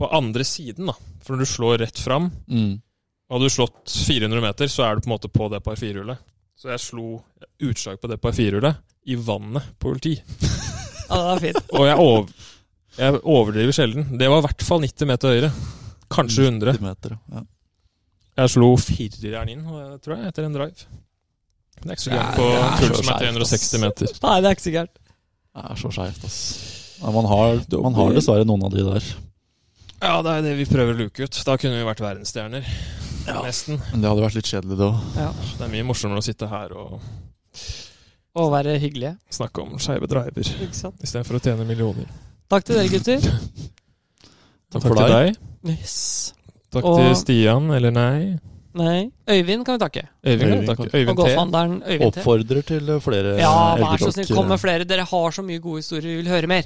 B: på andre siden, da. For når du slår rett fram,
D: Mm.
B: hadde du slått 400 meter, så er du på en måte på det par firehjulet. Så jeg slo utslag på det par firehjulet i vannet på hull 10.
C: Ja, det var fint.
B: Og jeg, over, jeg overdriver sjelden. Det var i hvert fall 90 meter høyere.
D: Mm.
B: Kanskje 100.
D: Meter, ja.
B: Jeg slo fireren inn, og jeg tror jeg, etter en drive. Det er ikke så gærent på
D: Ja, det er
B: hull som
D: så
B: er
D: skjevt, ass.
B: 360 meter.
C: Nei, det er ikke sikkert.
D: Det er så skeivt, ass. Nei, man, har, man har dessverre noen av de der.
B: Ja, det er det vi prøver å luke ut. Da kunne vi vært verdensstjerner.
D: Ja.
B: Nesten.
D: Men det hadde vært litt kjedelig, det òg.
B: Det er mye morsommere å sitte her og
C: Å være hyggelige.
B: snakke om skeive driver
C: Ikke sant?
B: istedenfor å tjene millioner.
C: Takk til dere, gutter.
D: Takk
B: Takk
D: for
B: til deg.
C: Yes.
B: Takk
C: Og-
B: til Stian, eller nei.
C: Nei. Øyvind kan vi takke.
B: Øyvind,
D: Øyvind,
B: takk.
D: kan-
C: Og
B: Øyvind T. eh,
C: golfhandleren Øyvind T.
D: Oppfordrer til eh, flere eh,
C: Ja, vær så
D: elgdokk-
C: snill, kom med flere. Dere har så mye gode historier, vi vil høre mer.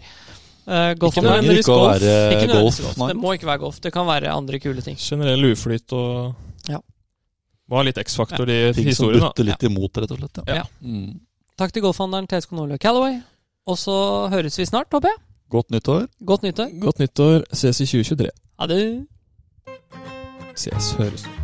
C: Eh, Uh, golf
B: Ikke
C: om dagen.
D: trenger ikke å
B: golf.
D: være
C: Ikke nødvendigvis
D: golf.
C: golf.
D: Nei.
C: Det må ikke være golf. Det kan være andre kule ting.
B: Generell uflyt og
C: Ja.
B: Var litt X-faktor i
D: Ting som
B: historien, da.
D: butter litt imot, rett og slett.
C: Ja.
D: Mm.
C: Takk til golfhandleren TSK Nordli og Callaway. Og så høres vi snart, håper jeg.
D: Godt nyttår.
C: Godt nyttår.
B: Godt nyttår. Ses i 2023.
C: Ha det.
B: Ses. Høres.